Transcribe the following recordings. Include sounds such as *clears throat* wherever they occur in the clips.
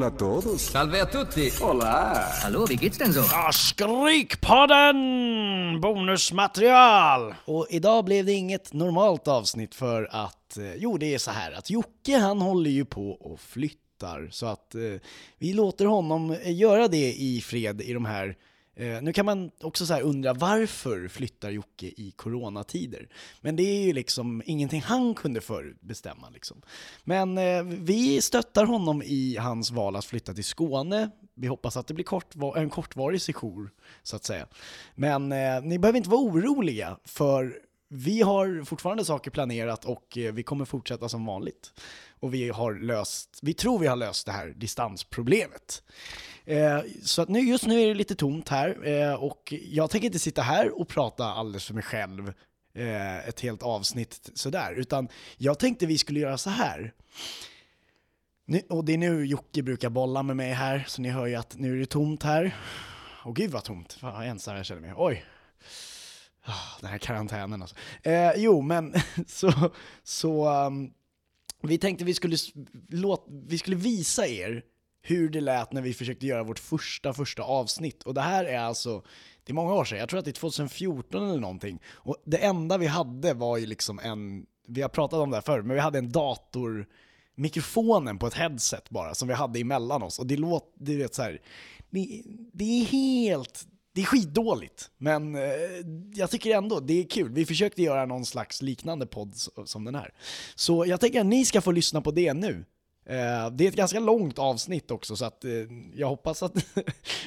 Servus. Salve a tutti! Hola. Hallå, wie geht's denn so? Ja, Skrikpodden! Bonusmaterial! Och idag blev det inget normalt avsnitt för att, eh, jo det är så här att Jocke han håller ju på och flyttar så att eh, vi låter honom eh, göra det i fred i de här eh, nu kan man också så här undra varför flyttar Jocke i coronatider? Men det är ju liksom ingenting han kunde förutbestämma. Liksom. Men eh, vi stöttar honom i hans val att flytta till Skåne. Vi hoppas att det blir kort, en kortvarig sejour, så att säga. Men eh, ni behöver inte vara oroliga, för vi har fortfarande saker planerat och eh, vi kommer fortsätta som vanligt. Och vi har löst, vi tror vi har löst det här distansproblemet. Eh, så att nu, just nu är det lite tomt här eh, och jag tänker inte sitta här och prata alldeles för mig själv eh, ett helt avsnitt sådär, utan jag tänkte vi skulle göra så här. Nu, och det är nu Jocke brukar bolla med mig här, så ni hör ju att nu är det tomt här. Åh gud vad tomt, fan vad ensam jag känner mig. Oj, Ah, Den här karantänen alltså. Eh, jo, men *laughs* så, så um, vi tänkte vi skulle, s- låt, vi skulle visa er hur det lät när vi försökte göra vårt första, första avsnitt. Och det här är alltså, det är många år sedan, jag tror att det är 2014 eller någonting. Och det enda vi hade var ju liksom en, vi har pratat om det här förr, men vi hade en dator mikrofonen på ett headset bara som vi hade emellan oss och det låter, du vet så här, det, det är helt, det är skitdåligt men eh, jag tycker ändå det är kul. Vi försökte göra någon slags liknande podd s- som den här. Så jag tänker att ni ska få lyssna på det nu. Eh, Det är ett ganska långt avsnitt också så att eh, jag hoppas att, *laughs*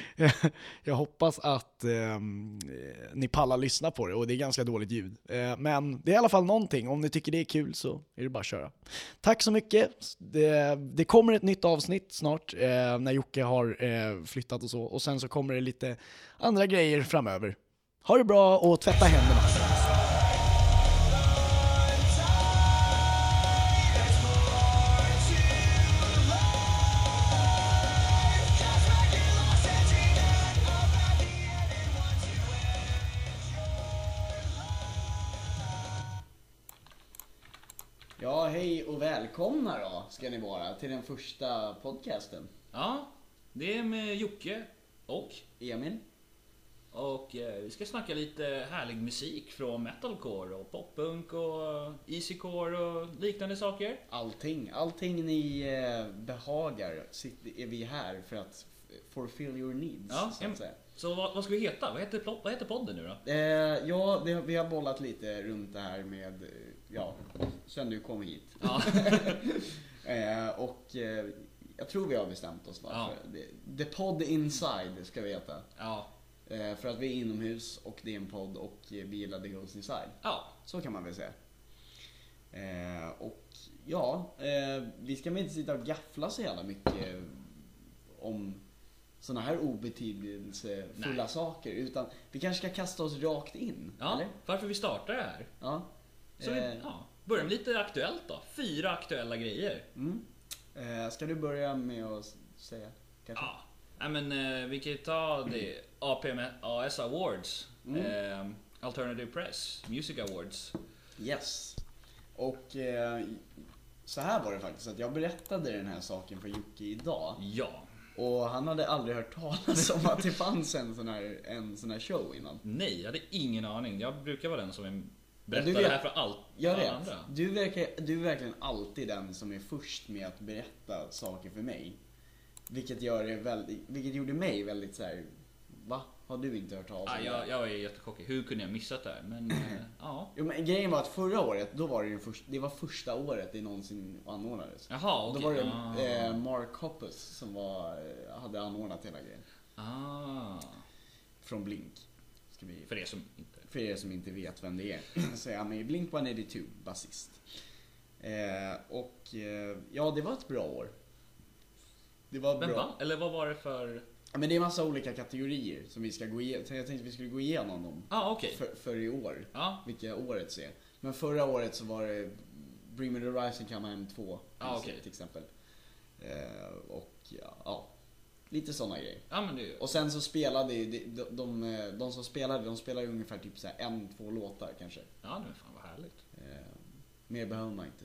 jag hoppas att ehm, eh, ni pallar lyssna på det och det är ganska dåligt ljud. Eh, Men det är i alla fall någonting, om ni tycker det är kul så är det bara att köra. Tack så mycket, det, det kommer ett nytt avsnitt snart eh, när Jocke har eh, flyttat och så och sen så kommer det lite andra grejer framöver. Ha det bra och tvätta händerna. Ja, hej och välkomna då ska ni vara till den första podcasten. Ja, det är med Eh, Jocke och, Emil. och eh, vi ska snacka lite härlig musik från metalcore och poppunk och eh, easycore och liknande saker. Allting, allting ni eh, behagar sitter, är vi här för att f- fulfill your needs. Ja, så att säga. Så vad, vad ska vi heta? Vad heter, plo- vad heter podden nu då? Eh, ja det, vi har bollat lite runt det här med, eh, ja, sen du kom hit. Ja, *laughs* Eh, och eh, jag tror vi har bestämt oss varför. The, the Pod Inside ska vi heta. ja, Eh, för att vi är inomhus och det är en podd och eh, vi gillar The Girls Inside. ja. Så kan man väl säga. Eh, och ja, eh, vi ska väl inte sitta och gaffla så jävla mycket om sådana här obetydelsefulla Nej. saker. Utan vi kanske ska kasta oss rakt in. ja. Eller? Varför vi startar det här? Ja. Så Eh. vi ja, börjar med lite aktuellt då. Fyra aktuella grejer. Mm. Eh, ska du börja med att s- säga? Kanske? Ja, nej men eh, vi kan ju ta det APMAS Awards, eh, Alternative Press, Music Awards. Yes. Och eh, så här var det faktiskt att jag berättade den här saken för Jocke idag. Ja, Och han hade aldrig hört talas om att det fanns en sån här, en sån här show innan. Nej, jag hade ingen aning. Jag brukar vara den som berättar Men du vet- det här för allt Jag alla vet. andra. Du, verkar, du är verkligen alltid den som är först med att berätta saker för mig. Vilket, gör det väldigt, vilket gjorde mig väldigt så här. va? Har du inte hört talas om Ah, Ja, det? jag, jag är jättechockad. Hur kunde jag missat det här? Men eh, *clears throat* ja. Jo, men grejen var att förra året, då var det, den först, det var första året det någonsin anordnades. Jaha, okej. Då var det ah. eh, Mark Hoppus som var, eh, hade anordnat hela grejen. ah. Från Blink. Ska vi, För er som inte... för er som inte vet vem det är *clears throat* så är han med i Blink 182, basist. Eh, och eh, ja, det var ett bra år. Det var Vem bra. vann? Eller vad var det för... Ja, Men det är massa olika kategorier som vi ska gå igenom. Jag tänkte att vi skulle gå igenom dem Ja, ah, okej. för, för i år. Ja, Vilka årets är. Men förra året så var det Bring Me The Horizon Come Home 2 Ah, okej. till exempel. Eh, och ja, ja, lite sådana grejer. ja men det är ju... Och sen så spelade ju de, de, de, de som spelade, de spelade ungefär typ så här en, två låtar kanske. Ja, men fan vad härligt. Eh, mer behöver man inte.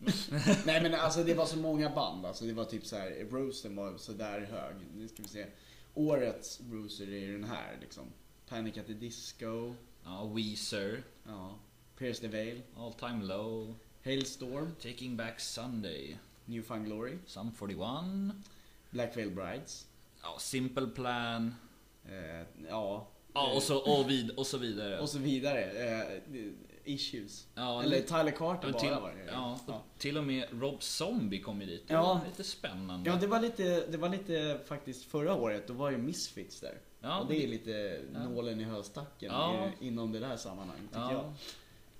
*laughs* Nej men alltså det var så många band. Alltså det var typ så här, Rosen var så där hög. Nu ska vi se. Årets Roser är ju den här liksom. Panic at the Disco. Ja, Weezer, Ja. Pierce the Veil. All Time Low, Hailstorm. Taking Back Sunday, Newfound Glory. Sum 41, Black Veil Brides. ja, Simple Plan, Eh, ja. ja, och, så, och, vid, och så vidare. Och så vidare. Eh, issues. Ja, Eller lite- Tyler Carter Ja, bara till, var det. ja, och till och med Rob Zombie kom ju dit. Det Ja. var lite spännande. Ja, det var lite, det var lite faktiskt förra året, då var ju Misfits där. Ja, och det är lite ja. nålen i höstacken Ja. i- inom det där sammanhanget tycker Ja. jag.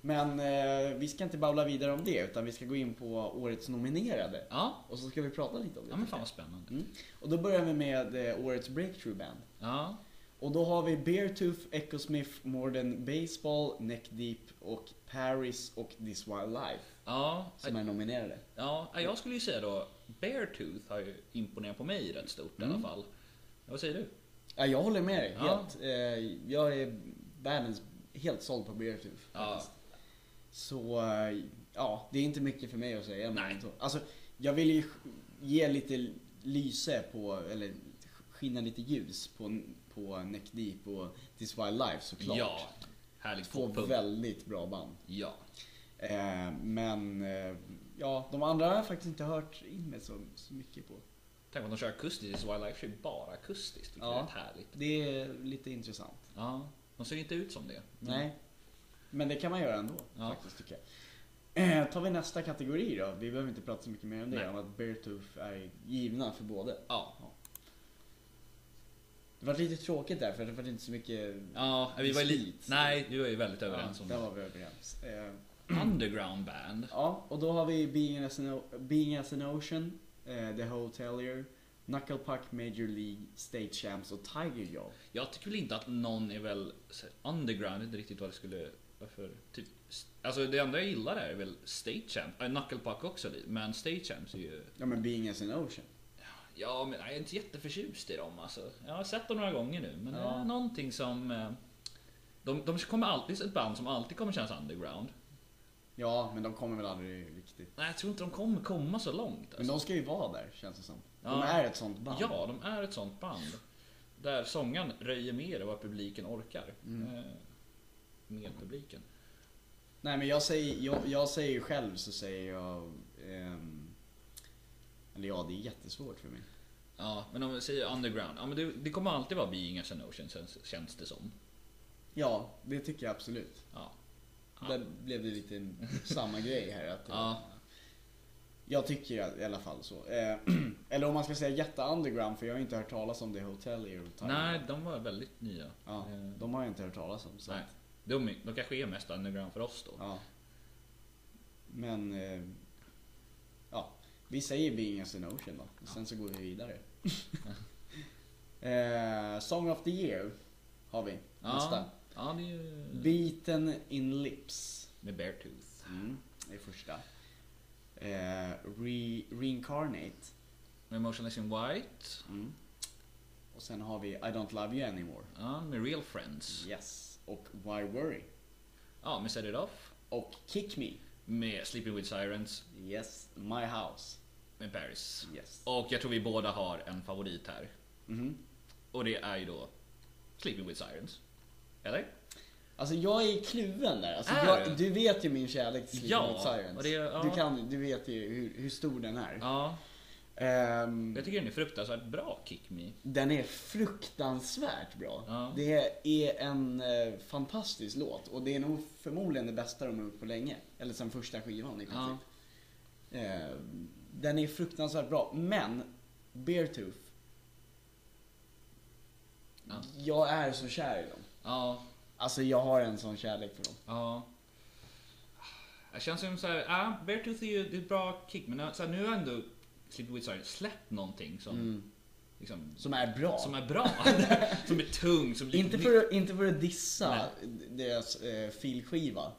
Men eh, vi ska inte babbla vidare om det, utan vi ska gå in på årets nominerade. Ja, Och så ska vi prata lite om det. ja men tycker fan vad spännande. jag. Mm. Och då börjar vi med eh, årets breakthrough band. Ja, Och då har vi Beartooth, Echo Smith, Morden Baseball, Neck Deep och Paris och This Wild Life ja, som är nominerade. ja, jag skulle ju säga då Beartooth har ju imponerat på mig rätt stort i Mm. alla fall. Ja, Vad säger du? Ja, jag håller med dig Ja. helt. Eh, Jag är världens, helt såld på Beartooth. Ja, Så eh, ja, det är inte mycket för mig att säga. men Nej. så- Alltså, jag vill ju ge lite lyse på, eller skina lite ljus på, på Neck Deep och This Wild Life såklart. ja härligt Två pop-punk. väldigt bra band. Ja, Eh, men eh, ja, de andra har jag faktiskt inte hört in mig så, så mycket på. tänk om de kör akustiskt. Wild Life kör ju bara akustiskt, vilket Ja. är rätt härligt. Det är lite intressant. Ja, de ser ju inte ut som det. Men- Nej. Mm. Men det kan man göra ändå Ja. faktiskt tycker jag. Eh, tar vi nästa kategori då. Vi behöver inte prata så mycket mer om det. Nej. Om att Beartooth är givna för båda. Ja, Det var lite tråkigt där för det var inte så mycket... ja vi var ju li- Split. Nej, vi var ju väldigt överens om Där det. var vi överens. Eh, Underground band. ja, och då har vi Being as an, O- Being as an Ocean, eh, The Hotelier, Knuckle Puck, Major League, State Champs och Tiger Jaw. Jag tycker väl inte att någon är väl så här, underground, jag vet inte riktigt vad det skulle varför typ Alltså det enda jag gillar där är väl State Champ, äh, Knucklepuck också li- men State Champs är ju Ja men Being as an Ocean. Ja men jag är inte jätteförtjust i dem alltså. Jag har sett dem några gånger nu men det Ja. är någonting som eh, de, de kommer alltid, ett band som alltid kommer kännas underground. Ja, men de kommer väl aldrig riktigt. Nej jag tror inte de kommer komma så långt. Men Alltså. de ska ju vara där känns det som. De Ja. är ett sånt band. Ja, de är ett sånt band. Där sångaren röjer mer än vad publiken orkar. Eh, med publiken. Nej men jag säger, jag, jag säger ju själv så säger jag... ehm, eller ja, det är jättesvårt för mig. Ja, men om vi säger underground. Ja, men det, det kommer alltid vara Being as an Ocean känns, känns det som. Ja, det tycker jag absolut. Ja. Där blev det lite samma *laughs* grej här. Att, eh, Ja. Jag tycker i alla fall så. Eh, *clears throat* eller om man ska säga jätte-underground för jag har inte hört talas om det Hotel i Thailand. Nej, de var väldigt nya. Ja, Eh, de har jag inte hört talas om. Så nej. att, De, är- de kanske är mest underground för oss då. ja. Men... Eh, ja, vi säger Being as an Ocean då. Och sen så går vi vidare. *laughs* eh, Song of the Year har vi. Nästa. Ja, ja det är ju... Beaten in Lips. med Beartooth. Mm, det är första. Eh, re, reincarnate. Med Emotionless in White. Mm. Och sen har vi I don't love you anymore. Ja, med Real Friends. Yes. Och Why worry? Ja, med Set It Off. Och Kick me. Med Sleeping With Sirens. Yes. My house. Med Paris. Yes. Och jag tror vi båda har en favorit här. Mhm. Och det är ju då Sleeping With Sirens. Eller? Alltså jag är kluven där. Alltså, Är jag, du? du vet ju min kärlek till Sleeping Ja, With Sirens. och det- ja. du, kan, du vet ju hur, hur stor den är. Ja, Ehm, jag tycker den är fruktansvärt bra, Kick Me. den är fruktansvärt bra. Ja. Det är en eh, fantastisk låt och det är nog förmodligen det bästa de har gjort på länge. Eller sen första skivan i princip. Ja. Eh, den är fruktansvärt bra, men Beartooth. Ja. Jag är så kär i dem. Ja, Alltså jag har en sån kärlek för dem. ja. Det känns som så här, ja, Beartooth är ju det är ett bra kick, men så här, nu har ändå Sleeping With Sirens släppt någonting som, Mm. liksom, Som är bra. som är bra. *laughs* som är tung, som Inte, för, att- inte för att dissa deras eh, filskiva.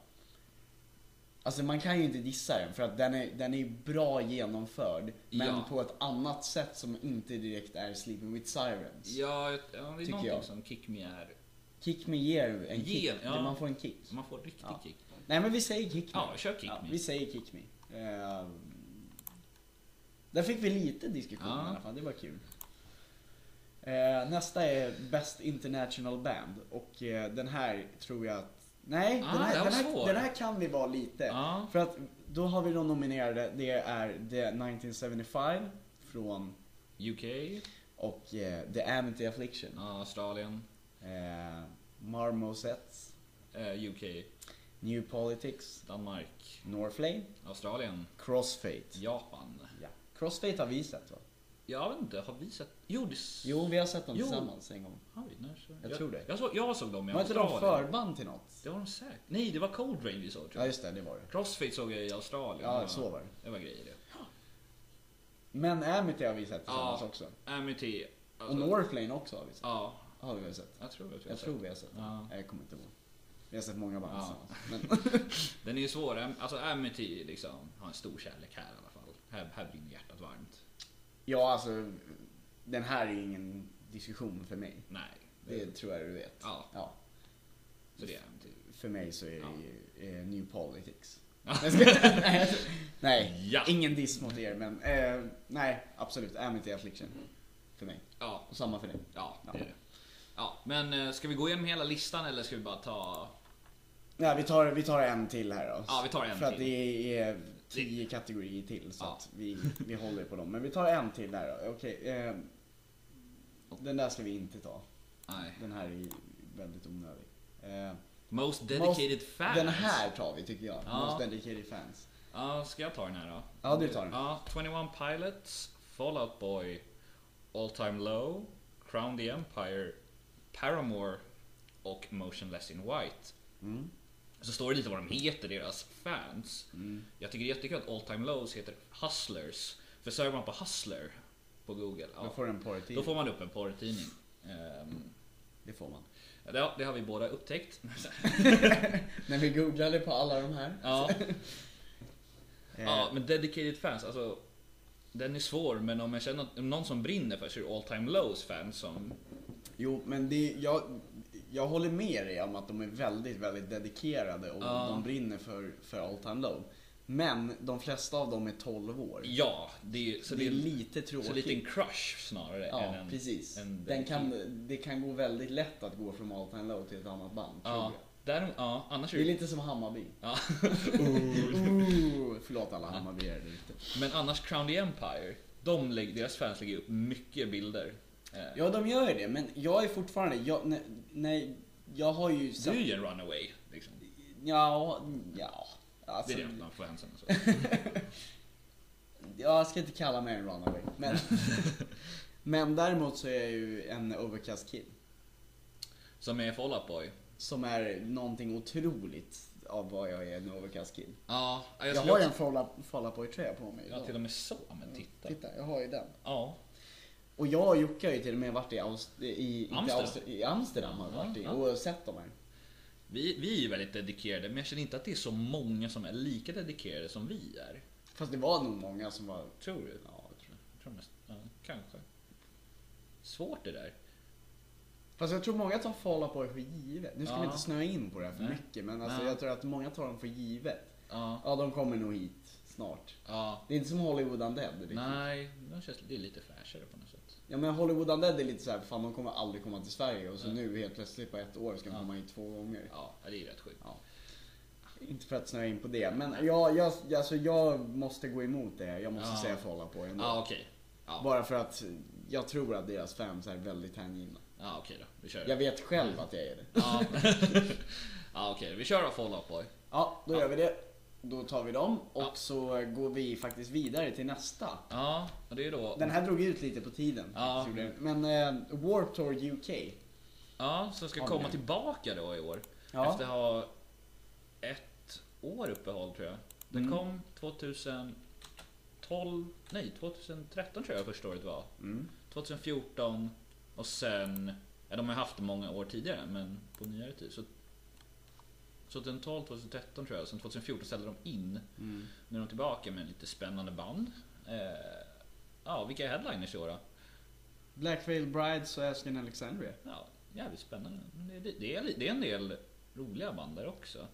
Alltså man kan ju inte dissa den för att den är, den är bra genomförd. Men Ja. på ett annat sätt som inte direkt är Sleeping with Sirens. Ja, ja, det är någonting jag. som Kick Me är. Kick me ger en Ger, kick. ja. Man får en kick. Man får riktig Ja. kick. Nej men vi säger kick me. Ja, kör Kick Me. Vi säger kick me. Eh, där fick vi lite diskussion Ja. i alla fall, det var kul. Eh, nästa är Best International Band och eh, den här tror jag att... Nej, Ah, den, här, den var den, här, svår. den här kan vi vara lite. Ja. För att då har vi de nominerade, det är The 1975 från UK, och eh, The Amity Affliction. ja, Australien, Eh, Marmosets, eh, UK, New Politics, Danmark, Norflame, Australien, Crossfate. Japan. Ja. Crossfate har vi sett va? Jag vet inte, har vi sett? Jo, det... s- Jo, vi har sett dem Jo. tillsammans en gång. Har vi? När så? Jag tror det. Jag, såg, jag såg dem i Var inte de Australien. förband till något? Det var de säkert. Nej, det var Cold Rain vi såg tror Ja, jag. just det, det var det. Crossfit såg jag i Australien. Ja, så var det. Det var grejer det. Men Amity har vi sett tillsammans Ja. också. Amity. Och alltså- Northlane också har vi sett. Ja, Har vi väl sett? jag tror det. Jag tror vi har sett Ja. dem. Jag kommer inte ihåg. Vi har sett många band Ja. tillsammans. Men, *laughs* Den är ju svår. Am- Alltså Amity liksom har en stor kärlek här i alla fall. Här, här brinner hjärtat varmt. ja, alltså. Den här är ingen diskussion för mig. Nej. Det tror jag du vet. Ja. Ja. Så det är Amity. För mig så är det ju, eh, New Politics. *laughs* Ja. Jag ska- nej, jag tror- nej Ja. ingen diss mot er men eh, nej absolut, Amity Affliction. För mig. *laughs* Ja, Och samma för dig. ja, Ja. det är det. Ja, men eh, ska vi gå igenom hela listan eller ska vi bara ta... Nej, vi, tar, vi tar en till här då. Ja, vi tar en För att till. det är tio kategorier till så Ja. att vi, vi håller på dem. Men vi tar en till där då. Okej, eh, den där ska vi inte ta. Nej. Den här är väldigt onödig. Eh, Most dedicated fans. Den här tar vi tycker jag. Ja. Most dedicated fans. Ja, ska jag ta den här då? Ja, du tar den. Ja, 21 Pilots, Fallout Boy, All Time Low, Crown the Empire, Paramore och Motionless in White. Mm. Så står det lite vad de heter, deras fans. mm. Jag tycker det är jättekul att All Time Lows heter Hustlers. För söker man på Hustler på Google, Då ja, får den porrtid. då får man upp en porrtidning. Ehm, Det får man. ja, det har vi *laughs* båda upptäckt. När vi googlade på alla de här. ja, Eh, Ja, men dedicated fans, alltså den är svår men om jag känner att om någon som brinner för så är det all time lows fans som... Jo, men det, jag, jag håller med dig om att de är väldigt, väldigt dedikerade och Ja. de brinner för, för all time low. Men de flesta av dem är 12 år. Ja, det är, så det, är lite tråkigt. så lite en crush snarare än ja, en... precis. en- Den kan, det kan gå väldigt lätt att gå från all time low till ett annat band. tror Ja, jag. därom, ja annars är Det är det... lite som Hammarby. Ja. *laughs* *laughs* Ooh, förlåt alla Hammarbyare där ute. Men annars Crown the Empire, de, lägger- deras fans lägger upp mycket bilder. Eh, Ja, de gör ju det, men jag är fortfarande... Jag, nej, nej, jag har ju... Du är ju en runaway liksom. Ja, ja. Alltså, det är det bland fansen *laughs* och så. jag ska inte kalla mig en runaway. *laughs* Men, men däremot så är jag ju en overcast kid. Som är Fall Out Boy. Som är någonting otroligt av vad jag är en overcast kid. Ja, Jag, jag, skulle har ju också- en Falla, falla på tröja på mig. Ja, idag. till och med så. Men titta. Titta, jag har ju den. Ja. Och jag och Jocke har ju till och med varit i, Aust- i, inte Amsterdam. Aust- i Amsterdam har vi varit i Ja, och sett dem här. Vi, vi är ju väldigt dedikerade, men jag känner inte att det är så många som är lika dedikerade som vi är. Fast det var nog många som var... Tror du? Ja, jag tror det. Jag tror näst, ja, kanske. Svårt det där. Fast jag tror många tar Fall Out Boy för givet. Nu ska vi Ja. inte snöa in på det här för Nej. mycket, men alltså, Nej. jag tror att många tar dem för givet. Ja. Ja, de kommer nog hit snart. ja. Det är inte som Hollywood Undead. riktigt. Nej, det känns det är lite fräschare på något sätt. Ja men Hollywood Undead är lite så här, fan de kommer aldrig komma till Sverige och så Nej. nu helt plötsligt på ett år ska de Ja. komma hit två gånger. Ja, det är rätt sjukt. Ja. Inte för att snöa in på det, men jag, jag, alltså, jag måste gå emot det. Jag måste Ja. säga för hålla på ändå. Ja, okej. Ja, Bara för att jag tror att deras fans är väldigt hängivna. ja okej då. Vi kör. Jag vet själv att jag är det. Ja, ja okej. *laughs* Vi kör då Fall Out Boy. Ja, då gör vi det. Då tar vi dem och Ja. så går vi faktiskt vidare till nästa. Ja, och det är då... Den här drog ut lite på tiden. Ja. faktiskt, gjorde den. Men eh, Warped Tour UK. Ja, som ska Ja, komma men- tillbaka då i år. Ja. Efter att ha ett år uppehåll tror jag. Den Mm. kom 2012, nej 2013 tror jag första året var. Mm. 2014 och sen, ja de har haft det många år tidigare men på nyare tid. Så, så 2012, 2013 tror jag, sen 2014 ställde de in. Mm. Nu är de tillbaka med lite spännande band. Eh, ja, vilka är headliners i år då? Black Veil Brides och Askin Alexandria. Ja, jävligt spännande. Men Det, det, det, är, li- det är en del roliga band där också.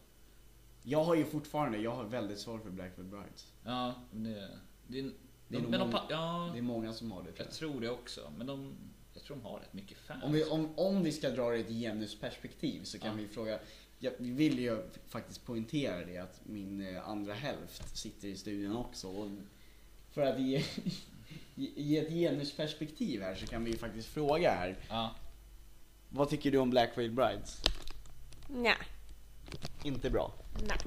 Jag har ju fortfarande, jag har väldigt svårt för Blackford Brides. Ja, men det... det, är- Det är de, nog men de, många- pa- ja, Det är många som har det tror jag jag. tror det också. Men de... Jag tror de har rätt mycket fans. Om vi, om, om vi ska dra det i ett genusperspektiv så kan Ja. vi fråga. Jag vill ju faktiskt poängtera det att min eh, andra hälft sitter i studion också. Och för att ge, *laughs* ge ett genusperspektiv här så kan vi ju faktiskt fråga här. Ja. Vad tycker du om Black Veil Brides? Nej, Inte bra. nej.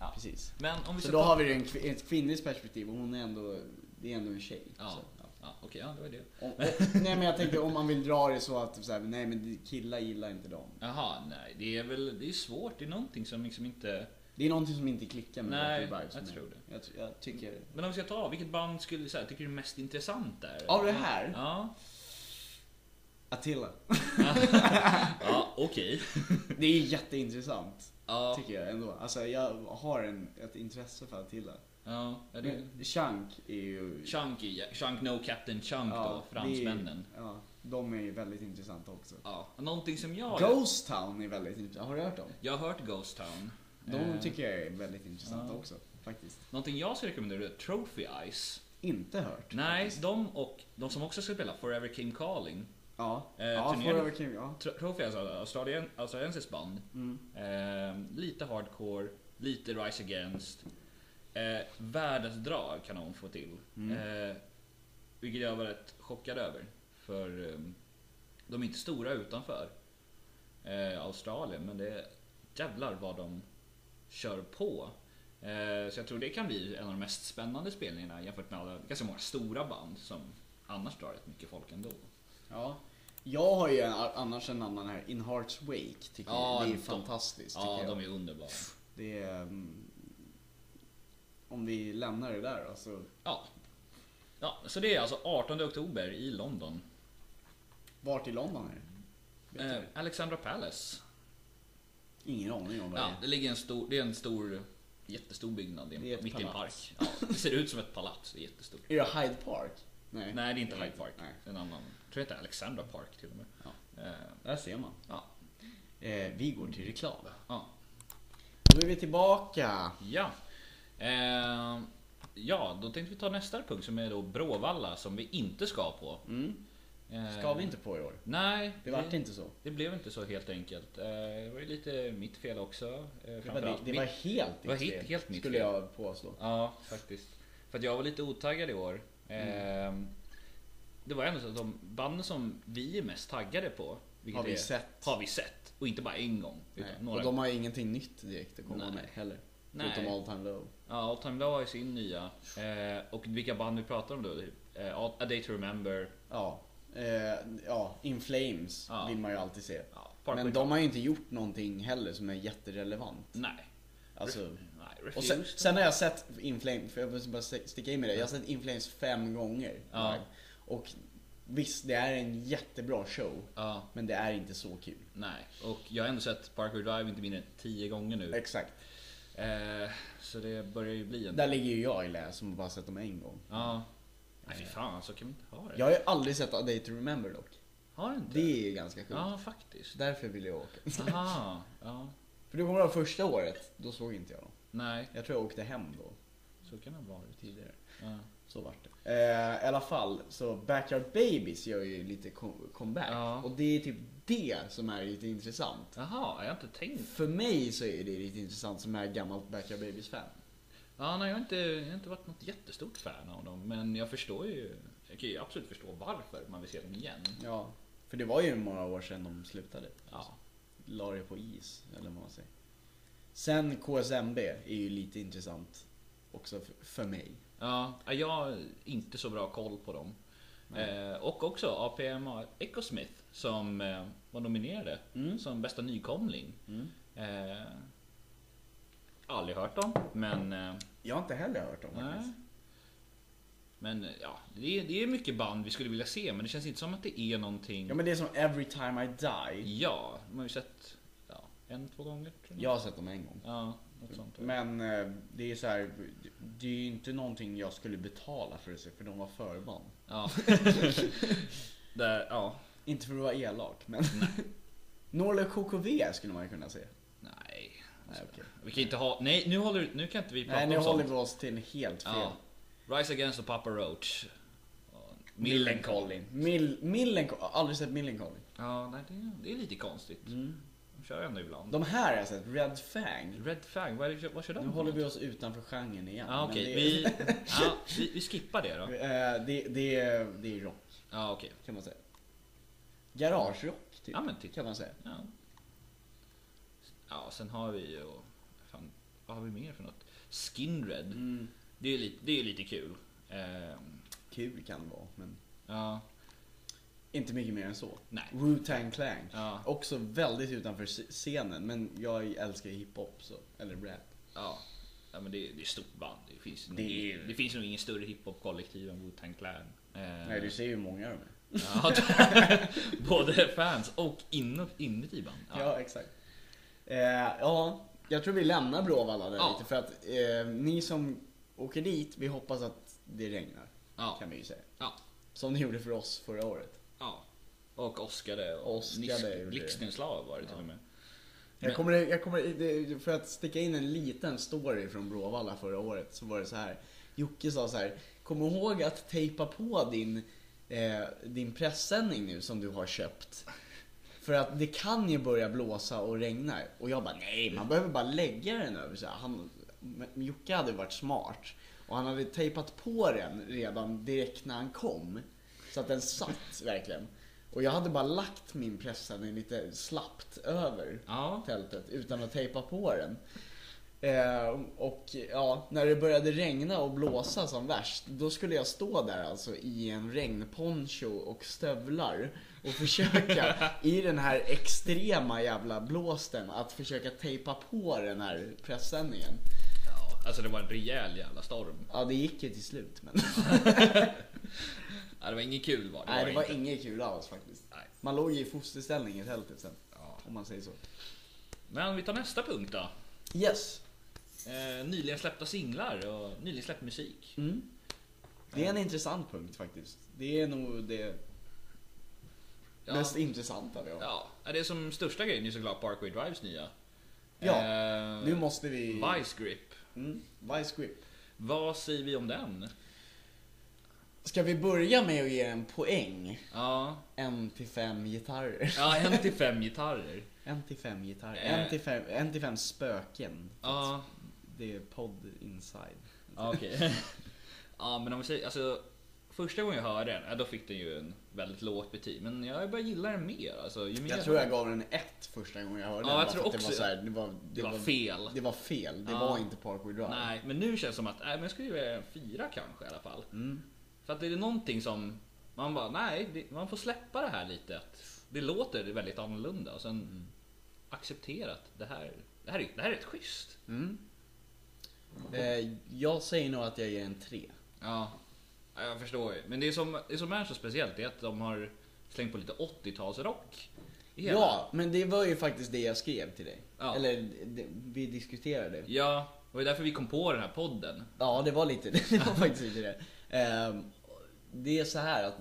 Ja. Precis. Men om vi Så ska då ta- har vi en, kvi- ett kvinnligt perspektiv och hon är ändå, det är ändå en tjej. Ja. Så, ja. Ja, okej, ja, det var det. Om, om, nej men jag tänkte om man vill dra det så att så här, nej men killar gillar inte dem. Jaha, nej. Det är väl... Det är svårt. Det är någonting som liksom inte... Det är någonting som inte klickar med Nej, Black Eyed Vibes jag för mig. tror det. Jag, ty- jag tycker... Men om vi ska ta, vilket band skulle du säga tycker du är mest intressant där? Av det här? Ja. Attila. *laughs* Ja, okej. Det är jätteintressant, Ja. tycker jag ändå. Alltså jag har en, ett intresse för Attila. Ja, är det... Men Chunk är ju... Chunk, i- Chunk No Captain Chunk då, det är- fransmännen. Ja, de är ju väldigt intressanta också. Ja, någonting som jag... Ghost Town är väldigt intressant. Har du hört dem? Jag har hört Ghost Town. De Eh, tycker jag är väldigt intressanta ja. också, faktiskt. Någonting jag skulle rekommendera är Trophy Eyes. Inte hört. Nej, faktiskt. de och de som också ska spela Forever Came Calling. Ja. Eh, ja, turnerade- Forever King, ja. Tro- Trophy Eyes är Australien, australiensiskt band. Mm. Eh, lite hardcore, lite Rise Against. Eh, världens drag kan de få till. Eh, vilket jag var rätt chockad över. För eh, de är inte stora utanför eh, Australien, men det är jävlar vad de kör på. Eh, så jag tror det kan bli en av de mest spännande spelningarna jämfört med alla, ganska många stora band som annars drar rätt mycket folk ändå. Ja. Jag har ju en, annars en annan här, In Hearts Wake. Tycker Ja, jag. Det är de- fantastiskt. Ja, tycker jag. de är underbara. Det är... mm, Om vi lämnar det där då så... Ja. ja, så det är alltså 18 oktober i London. Vart i London är det? Vet Eh, du? Alexandra Palace. Ingen aning om vad Ja, det det ligger en stor, det är en stor, jättestor byggnad i en- Det är ett mitt i en palats. park. Ja, det ser ut som ett palats, det är jättestort. är. Är det Hyde Park? Nej. Nej, det är inte Hyde Park. Nej. Det är En annan, jag tror det heter Alexandra Park till och med. Ja. Eh, Där ser man. Ja. Eh, vi går till reklam. ja. Då är vi tillbaka. Ja. Eh, ja, då tänkte vi ta nästa punkt som är då Bråvalla som vi inte ska på. Mm. Eh, Ska vi inte på i år? Nej, Det vart inte så. det blev inte så helt enkelt. Eh, det var ju lite mitt fel också. Eh, Det var, det, framförallt det var helt det var ditt helt- fel, helt mitt Skulle fel. jag påstå. Ja, faktiskt. För att jag var lite otaggad i år. Mm. Ehm, det var ändå så att de banden som vi är mest taggade på, vilket Har vi är, sett. har vi sett. Och inte bara en gång. Utan Nej. några Och de har ju ingenting nytt direkt att komma Nej. med heller. Nej. Förutom All Time Low. Ja, All Time Low har ju sin nya. Eh, och vilka band vi pratar om då? typ, Eh, A Day To Remember, Ja. Eh, ja, In Flames Ja. vill man ju alltid se. ja, Parkway Men Drive. de har ju inte gjort någonting heller som är jätterelevant. Nej. Alltså, Nej, och sen, Refused. sen har jag sett Inflames, för jag måste bara st- sticka in med det, jag har sett Inflames fem gånger. Ja. live. Och visst, det är en jättebra show, Ja, men det är inte så kul. nej. Och jag har ändå sett Parkway Drive inte mindre än tio gånger nu. Exakt. Eh, så det börjar ju bli en... Där ligger ju jag i lä som bara sett dem en gång. Ja. Nej, fy fan, så kan vi inte ha det. Jag har ju aldrig sett A Day To Remember dock. Har inte? Det är ganska sjukt. Ja, faktiskt. Därför vill jag åka. *laughs* *laughs* Aha, ja. För du kommer ihåg första året, då såg inte jag dem. Nej, Jag tror jag åkte hem då, så kan det ha varit. tidigare. Ja, Så vart det. Eh, I alla fall, så Backyard Babies gör ju lite co- comeback. Ja. Och det är typ det som är lite intressant. Jaha, jag har inte tänkt. För mig så är det lite intressant som är gammalt Backyard Babies-fan. Ja, nej, jag, har inte, jag har inte varit något jättestort fan av dem, men jag förstår ju. Jag kan ju absolut förstå varför man vill se dem igen. Ja. För det var ju några år sedan de slutade. Ja, La det på is, eller vad man säger. Sen KSMB är ju lite intressant också f- för mig. ja ja, jag har inte så bra koll på dem. Eh, och också APMA Ecosmith som eh, var nominerade Mm. som bästa nykomling. Mm. Eh, aldrig hört dem, men eh, Jag har inte heller hört dem Nej. faktiskt. Men ja, det är, det är mycket band vi skulle vilja se men det känns inte som att det är någonting... Ja men det är som Every Time I Die. Ja, man har ju sett ja, en, två gånger tror Jag har sett dem en gång. Ja, något sånt. Men eh, det är så här, det är ju inte någonting jag skulle betala för att se, för de var förband. Ja. *laughs* Där, ja. *laughs* Inte för att vara elak, men... Norla KKV skulle man ju kunna se. Nej. Nej, okej. Vi kan inte ha... Nej, nu, håller, nu kan inte vi prata Nej, nu om håller sånt. vi oss till helt fel. Ja. Rise Against och Papa Roach. Ja, Millencolin. Mill, Millencolin. Aldrig sett Millencolin. Ja, nej, det, är, det är lite konstigt. De kör ändå ibland. Mm. De här har jag sett. Red Fang. Red Fang, vad, är det, vad kör de? Nu för håller vi något? oss utanför genren igen. Ja, men okej. det- Vi, ja, vi, vi skippar det *laughs* då. Eh, det, det, är- det är rock Ja, okej. kan man säga. Garagerock typ, Ja, men typ. kan man säga. Ja. ja, sen har vi ju... Fan, vad har vi mer för något? Skinred. Mm. Det är ju lite, det är ju lite kul. Ehm, Kul kan det vara, men ja, inte mycket mer än så. nej. Wu-Tang Clan. Ja. Också väldigt utanför sc- scenen, men jag älskar ju hiphop, så, eller rap. Ja. ja men det, är- det är ett stort band. Det finns, nog, Det är- det finns nog ingen större hiphop-kollektiv än Wu-Tang Clan. Eh, Nej, du ser ju hur många de är. ja, *laughs* både fans och in, inuti band. Ja, exakt. Eh, ja, jag tror vi lämnar Bråvalla där Ja. lite för att eh, ni som åker dit, vi hoppas att det regnar. Ja. Kan vi ju säga. ja. Som det gjorde för oss förra året. ja. Och Oscar och Oscade Nis- gjorde det. Blixtenslav var det till och med. Men- Jag kommer, jag kommer, det- för att sticka in en liten story från Bråvalla förra året så var det så här. Jocke sa så här, kom ihåg att tejpa på din, eh, din pressändning nu som du har köpt. För att det kan ju börja blåsa och regna. Och jag bara, nej man behöver bara lägga den över. Så här, han, men Jocke hade varit smart. Och han hade tejpat på den redan direkt när han kom. Så att den satt verkligen. Och jag hade bara lagt min pressändning lite slappt över Ja. tältet utan att tejpa på den. Eh, och ja, när det började regna och blåsa som värst, då skulle jag stå där alltså i en regnponcho och stövlar och *laughs* försöka i den här extrema jävla blåsten att försöka tejpa på den här pressändningen. ja. Alltså det var en rejäl jävla storm. Ja, det gick ju till slut men Ja, det var inget kul var *laughs* det. nej, det var inte. inget kul alls faktiskt. Nej. Man låg ju i fosterställning i tältet sen, Ja. om man säger så. Men vi tar nästa punkt då. Yes! Eh, nyligen släppta singlar och nyligen släppt musik. Mm. Det är en intressant punkt faktiskt. Det är nog det Ja. mest intressanta vi har. Ja, det är som största grejen är såklart Parkway Drives nya. Ja, Eh, Nu måste vi... Vice Grip. Mm, Vice Grip. Vad säger vi om den? Ska vi börja med att ge en poäng? Ja, En till fem gitarrer. ja en till fem gitarrer. *laughs* En till fem gitarrer. Eh. En till fem, en till fem spöken. Ja, Det är podd inside. ja, okej. *laughs* Ja, men om vi säger, alltså första gången jag hörde den, ja, då fick den ju en väldigt lågt betyg. Men jag börjar gilla den mer. Alltså, ju mer Jag tror jag gav den ett första gången jag hörde Ja, den. jag bara tror för att också- det var, så här, det var, det det var fel. Det var fel. Det Ja. var inte Parkway Drive. Nej, men nu känns det som att, nej men jag skulle ge en fyra kanske i alla fall. Mm, För att är det någonting som man bara, nej, det, man får släppa det här lite. Att det låter väldigt annorlunda och sen acceptera att det här, det här, är, det här är rätt schysst. Mm. Eh, jag säger nog att jag ger en tre. Ja, ja, jag förstår ju. Men det som, det som är så speciellt är att de har slängt på lite 80-talsrock. i hela. Ja, men det var ju faktiskt det jag skrev till dig. Ja. Eller det, vi diskuterade. Ja, och det är därför vi kom på den här podden. Ja, det var lite *laughs* det. var faktiskt lite det. Ehm, det är så här att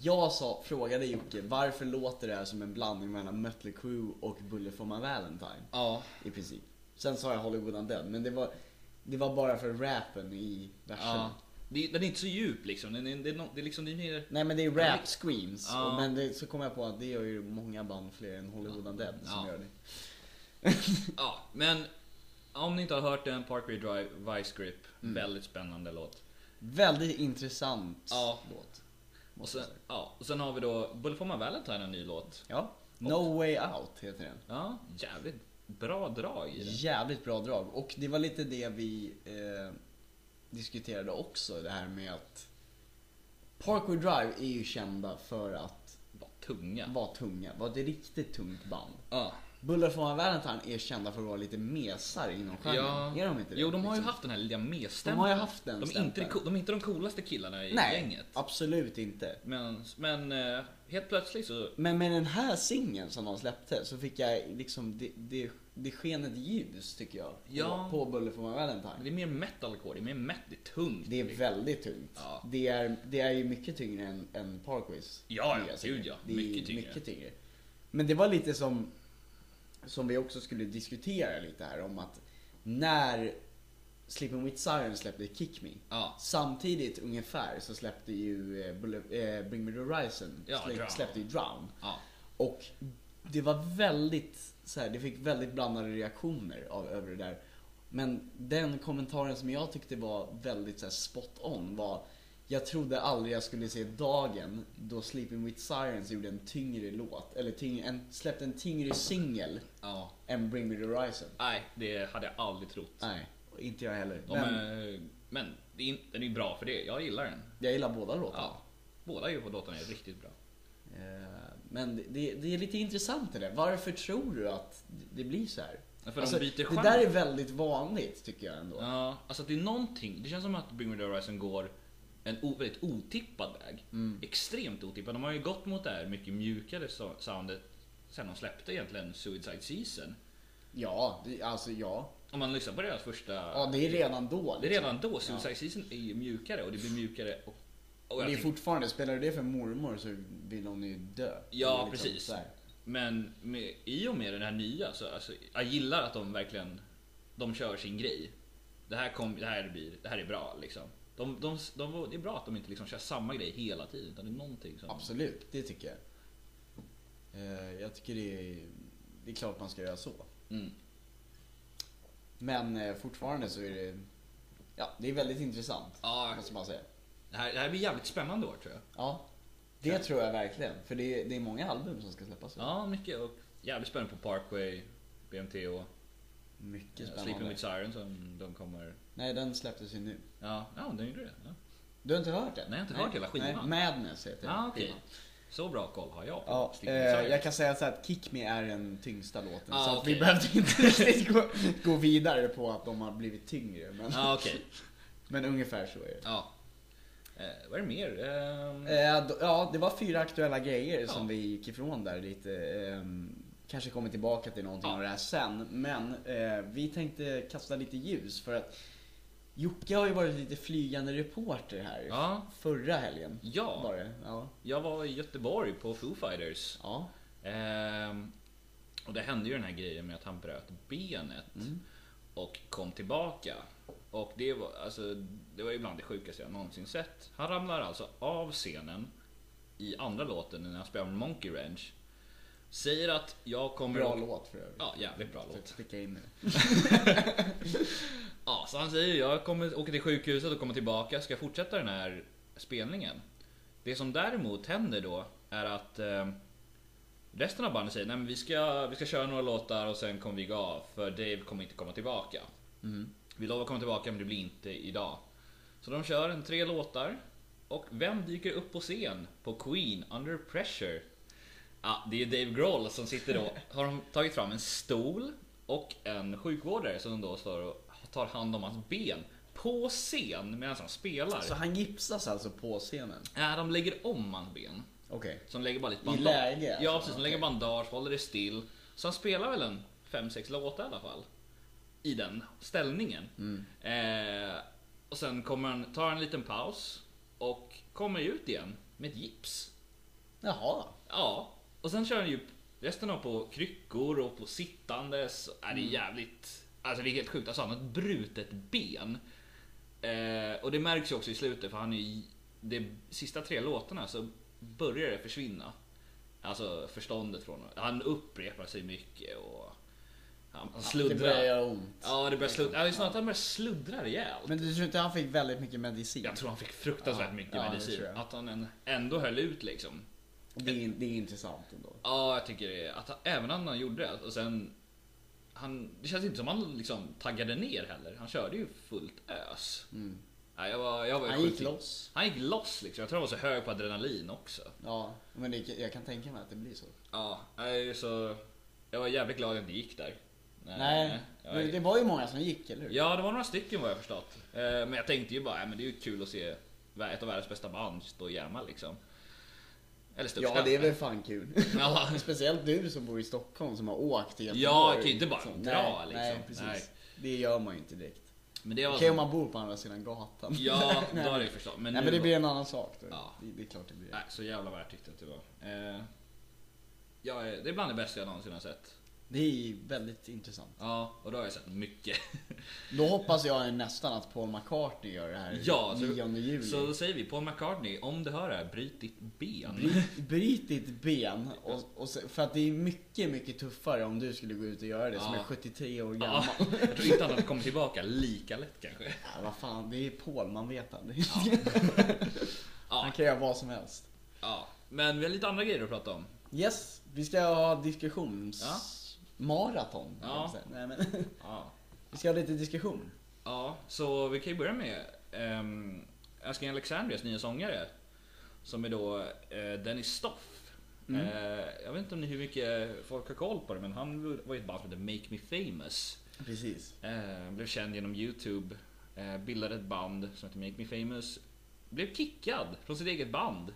jag sa, frågade Jocke varför låter det här som en blandning mellan Mötley Crüe och Bullet for my Valentine? Ja. I princip. Sen sa jag Hollywood Undead, men det var, det var bara för rappen i verserna. ja. Det, den är inte så djup liksom. Den är, det, är no, det är liksom det är mer... Nej men det är rap screams, Ja. och- men det, så kom jag på att det gör ju många band fler än Hollywood Undead som Ja. gör det. Ja, men om ni inte har hört den, Parkway Drive, Vice Grip. Väldigt spännande låt. Väldigt intressant Ja. låt. Och Måste sen, jag säga. ja, och sen har vi då Bullet for my Valentine, en ny låt. Ja. No Way Out heter den. Ja, jävligt bra drag i den. Jävligt bra drag. Och det var lite det vi eh, diskuterade också, det här med att Parkway Drive är ju kända för att Vad tunga. vara tunga, vara ett riktigt tungt band. Ja. Bullet for my Valentine är kända för att vara lite mesar inom genren. Är de inte det? Jo, de har ju Liksom. haft den här lilla De mestämpeln. har ju haft den de är, inte, de stämpeln. co- de är inte de coolaste killarna i Nej, gänget. absolut inte. Men, men eh, helt plötsligt så... Men med den här singeln som de släppte så fick jag liksom, det, det, det sken ett ljus tycker jag. Ja. På, på Bullet for my men Valentine. Det är mer metalcore, det är mer met, det är tungt. liksom. Det är väldigt tungt. Ja. Det, är, det är ju mycket tyngre än, än Parkways. Ja, ja, nya singel. gud, ja. Det är Mycket tyngre. mycket tyngre. Men det var lite som som vi också skulle diskutera lite här om att när Sleeping With Siren släppte Kick Me Ja. Samtidigt ungefär så släppte ju eh, Bulle- eh, Bring Me The Horizon Ja, slä- Drown. släppte ju Drown Ja. och det var väldigt så här, det fick väldigt blandade reaktioner av, över det där. Men den kommentaren som jag tyckte var väldigt så här, spot on var Jag trodde aldrig jag skulle se dagen då Sleeping With Sirens gjorde en tyngre låt, eller tyngre, en, släppte en tyngre singel ja. än Bring Me The Horizon. Nej, det hade jag aldrig trott. Nej, inte jag heller. De, Men men men det är, in- den är ju bra för det. Jag gillar den. jag gillar båda låtarna. Ja. Båda ju på låtarna är riktigt bra. Eh, Men det- det, det är lite intressant det där. Varför tror du att det blir så här? Ja, för de Alltså, byter det genre. där är väldigt vanligt tycker jag ändå. Ja, alltså det är någonting. Det känns som att Bring Me The Horizon går en o, väldigt otippad väg. Mm. Extremt otippad. De har ju gått mot det här mycket mjukare so- soundet sen de släppte egentligen Suicide Season. Ja, det, alltså ja. Om man lyssnar på deras första... Ja, det är redan då. det är liksom. redan då. Suicide Season är ju mjukare och det blir mjukare och... och Och jag det är tänker- fortfarande, spelar du det för mormor så vill hon ju dö. Ja, Det är liksom precis. så här. Men med, i och med den här nya så alltså, jag gillar att de verkligen de kör sin grej. Det här, kom, det här, blir, det här är bra liksom. De, de, de, det är bra att de inte liksom kör samma grej hela tiden utan det är någonting som... Absolut, det tycker jag. Eh, Jag tycker det är, det är klart man ska göra så. Mm. Men eh, fortfarande så är det, ja, det är väldigt intressant. Ja, Måste man säga. det här, det här blir jävligt spännande år tror jag. Ja, det tror jag verkligen. För det är, det är många album som ska släppas. Ja, mycket och jävligt spännande på Parkway, BMTO, Mycket eh, Sleeping spännande. With Siren som de kommer... Nej, den släpptes ju nu. Ja, ja de gjorde det. Ja. Du har inte hört den? Nej, jag har inte hört hela skivan. Nej, Madness heter Ah, okej. skivan. Så bra koll har jag på Ja, eh, Sleeping With Siren. jag kan säga så här att Kick Me är den tyngsta låten. Ah, så att vi okej. behövde *laughs* inte riktigt gå, gå vidare på att de har blivit tyngre. Men, Ja, Ah, okej. *laughs* men ungefär så är det. Ja. Eh, vad är det mer? Ehm, Eh, då- ja, det var fyra aktuella grejer Ja. som vi gick ifrån där lite. ehm, kanske kommer tillbaka till någonting Ja. av det här sen. Men eh, vi tänkte kasta lite ljus för att Jocke har ju varit lite flygande reporter här. Ja. Förra helgen Ja. var det. Ja. Jag var i Göteborg på Foo Fighters. ja. Ehm, och det hände ju den här grejen med att han bröt benet Mm. och kom tillbaka. Och det var, alltså, det var ju bland det sjukaste jag någonsin sett. Han ramlar alltså av scenen i andra låten när han spelar med Monkey Ranch. Säger att jag kommer... Bra att- låt för övrigt. Ja, jävligt bra låt. Sticka in nu. Ja, så han säger jag kommer åka till sjukhuset och kommer tillbaka, ska jag fortsätta den här spelningen? Det som däremot händer då är att eh, resten av bandet säger nej men vi ska, vi ska köra några låtar och sen kommer vi gå av för Dave kommer inte komma tillbaka. Mm. Vi lovar att komma tillbaka men det blir inte idag. Så de kör en tre låtar och vem dyker upp på scen på Queen Under Pressure? Ja, det är Dave Grohl som *laughs* sitter då. Har de tagit fram en stol och en sjukvårdare som då står och tar hand om hans ben på scen medan han spelar. Så han gipsas alltså på scenen? Nej, de lägger om hans ben. Okej. Så de lägger bara lite I bandage. läge, alltså? Ja, precis. De lägger Okej. bandage, håller det still. Så han spelar väl en 5-6 låtar i alla fall. I den ställningen. Mm. Eh, och sen kommer han, tar en liten paus och kommer ut igen med ett gips. Jaha. Ja, och sen kör han ju resten av på kryckor och på sittandes. Äh, Mm. det är jävligt... Alltså det är helt sjukt. Alltså han har ett brutet ben. Eh, och det märks ju också i slutet för han är ju... De sista tre låtarna så börjar det försvinna. Alltså förståndet från honom. Han upprepar sig mycket och... Han, han Det börjar sluddrar. göra ont. Ja, det börjar sluddra. Ja, det är snarare att han börjar sluddra rejält. Men du tror inte han fick väldigt mycket medicin? Jag tror han fick fruktansvärt Ja, mycket ja, det medicin. tror jag. Att han än- ändå höll ut liksom. Det är, det är intressant ändå. Ja, jag tycker det. Att han, även om han gjorde det. Och sen, han, det känns inte som han liksom taggade ner heller. Han körde ju fullt ös. Ja, jag var, jag var ju Mm. Han gick sjukt- loss. Han gick loss liksom. Jag tror han var så hög på adrenalin också. Ja, men det, jag kan tänka mig att det blir så. Ja, nej, så jag var jävligt glad att jag inte gick där. Nej, jag- men det var ju många som gick, eller hur? Ja, det var några stycken vad jag förstått. Eh, Men jag tänkte ju bara, "Ja, men det är ju kul att se ett av världens bästa band stå och jamma liksom. Eller största. Ja, det är väl fan *laughs* kul. *laughs* Ja. Speciellt du som bor i Stockholm som har åkt till Göteborg. Ja, jag kan ju inte bara dra, nej, liksom. Nej, precis. Nej. Det gör man ju inte direkt. Men det var... Okej om man bor på andra sidan gatan. *laughs* Ja, då nej, har jag ju förstått. nej, Men, nu men det var- blir en annan sak. Då. Ja. Det, det är klart det blir. eh, Nej, så jävla värt tyckte jag att det var. Eh, jag är, det är bland det bästa jag någonsin har sett. Det är väldigt intressant. Ja, och då har jag sett mycket. *laughs* Då hoppas jag nästan att Paul McCartney gör det här Ja, så, 9 juli. så då säger vi Paul McCartney, om du hör det här, bryt ditt ben. *laughs* Bryt, bryt ditt ben. Och, och se, för att det är mycket, mycket tuffare om du skulle gå ut och göra det som Ja. är 73 år gammal. Ja, jag tror inte att han kommer tillbaka lika lätt kanske. Ja, vad fan, det är Paul, man vet aldrig. *laughs* Han Ja, kan göra vad som helst. ja. Men vi har lite andra grejer att prata om. Yes, vi ska ha diskussions... Ja. Maraton. Ja. kan man säga. Nej, men, *laughs* Ja, vi ska ha lite diskussion. ja så vi kan ju börja med um, Asking Alexandrias nya sångare. Som är då eh, Dennis Stoff. Eh, jag vet inte om ni hur mycket folk har koll på det, men han var ju ett band som hette Make Me Famous. Precis. Eh, blev känd genom Youtube. Eh, bildade ett band som heter Make Me Famous. Blev kickad från sitt eget band.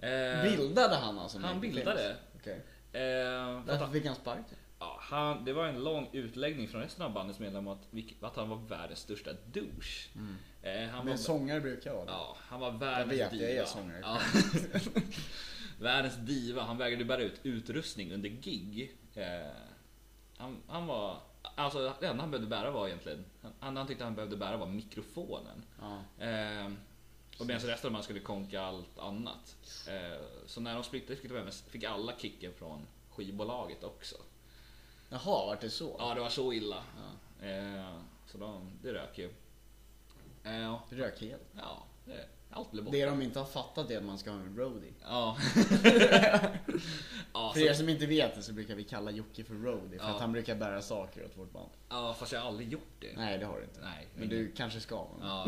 Eh, Bildade han alltså? han Michael bildade. Jackson? Okej. Eh, för att Därför han, fick han sparken? ja, han, det var en lång utläggning från resten av bandets medlemmar att, vilk- att han var världens största douche. Eh, han, var, Men sångare brukar vara det. ja, han var världens Jag vet, diva. jag är sångare. Ja. *laughs* världens diva. Han vägrade bära ut utrustning under gig. Eh, han, han var... Alltså det enda han behövde bära var egentligen... Han, han, han tyckte han behövde bära var mikrofonen. Ja. Eh, och medan resten av man skulle konka allt annat. Eh, så när de splittrade fick, de- fick alla kicken från skivbolaget också. Jaha, vart det så? Ja, det var så illa. Eh, så de, det rök ju. Eh, Rök helt. ja, det, allt blev borta. Det de inte har fattat är att man ska ha en roadie. Ja. *laughs* ja, För er så, som inte vet det så brukar vi kalla Jocke för roadie för Ja. att han brukar bära saker åt vårt band. ja, fast jag har aldrig gjort det. Nej, det har du inte. Nej, Men du kanske ska. Men... *laughs*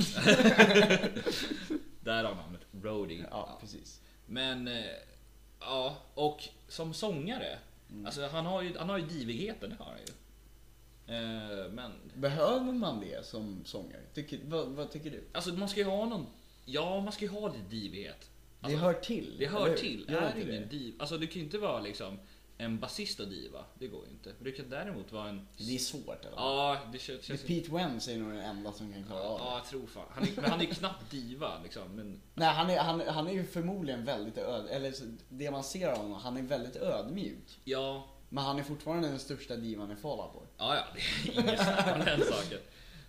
Ja. Därav namnet Roadie. Ja, precis. Men, eh, ja, och som sångare. Mm. Alltså han har ju, han har ju divigheten, det har han ju. Eh, men, Behöver man det som sångare? Tycker, vad, vad tycker du? alltså man ska ju ha någon, ja man ska ju ha lite divighet. Det hör till. Alltså, Det eller hör hur? till, Gör är inte ingen det? div. Alltså du kan ju inte vara liksom en basist och diva, det går ju inte. Men Du kan däremot vara en... Det är svårt. Eller? Ja, det känns... Det är känns Pete Wentz är nog den enda som kan klara av ja, det. jag tror fan. Han är, men han är ju knappt diva liksom. Men, Nej, han är, han, han är ju förmodligen väldigt öd... Eller så- det man ser av honom, han är väldigt ödmjuk. ja, Men han är fortfarande den största divan i Fall Out Boy. Ja, ja, det är inget snack om *laughs* den saken.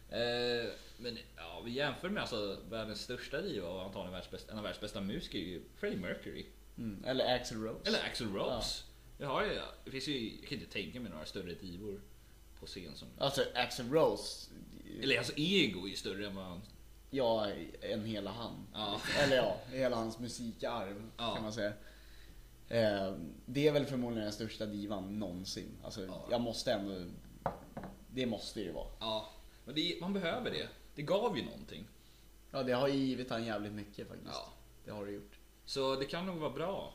Eh, men ja, vi jämför med alltså världens största diva och antagligen världens bästa, en av världens bästa musiker är ju Freddie Mercury. Mm. Eller Axel Rose. Eller Axl Rose. Jag, har ju, det finns ju, jag kan inte tänka mig några större divor på scen som... Alltså Axel Rose. Eller hans ego är ju större än vad han... Ja, en hela han. Ja. Eller ja, hela hans musikarv Ja. kan man säga. Eh, det är väl förmodligen den största divan någonsin. Alltså, Ja. jag måste ändå... Det måste det ju vara. Ja, men det, man behöver det. Det gav ju någonting. Ja, det har ju givit han jävligt mycket faktiskt. Ja. Det har det gjort. Så det kan nog vara bra.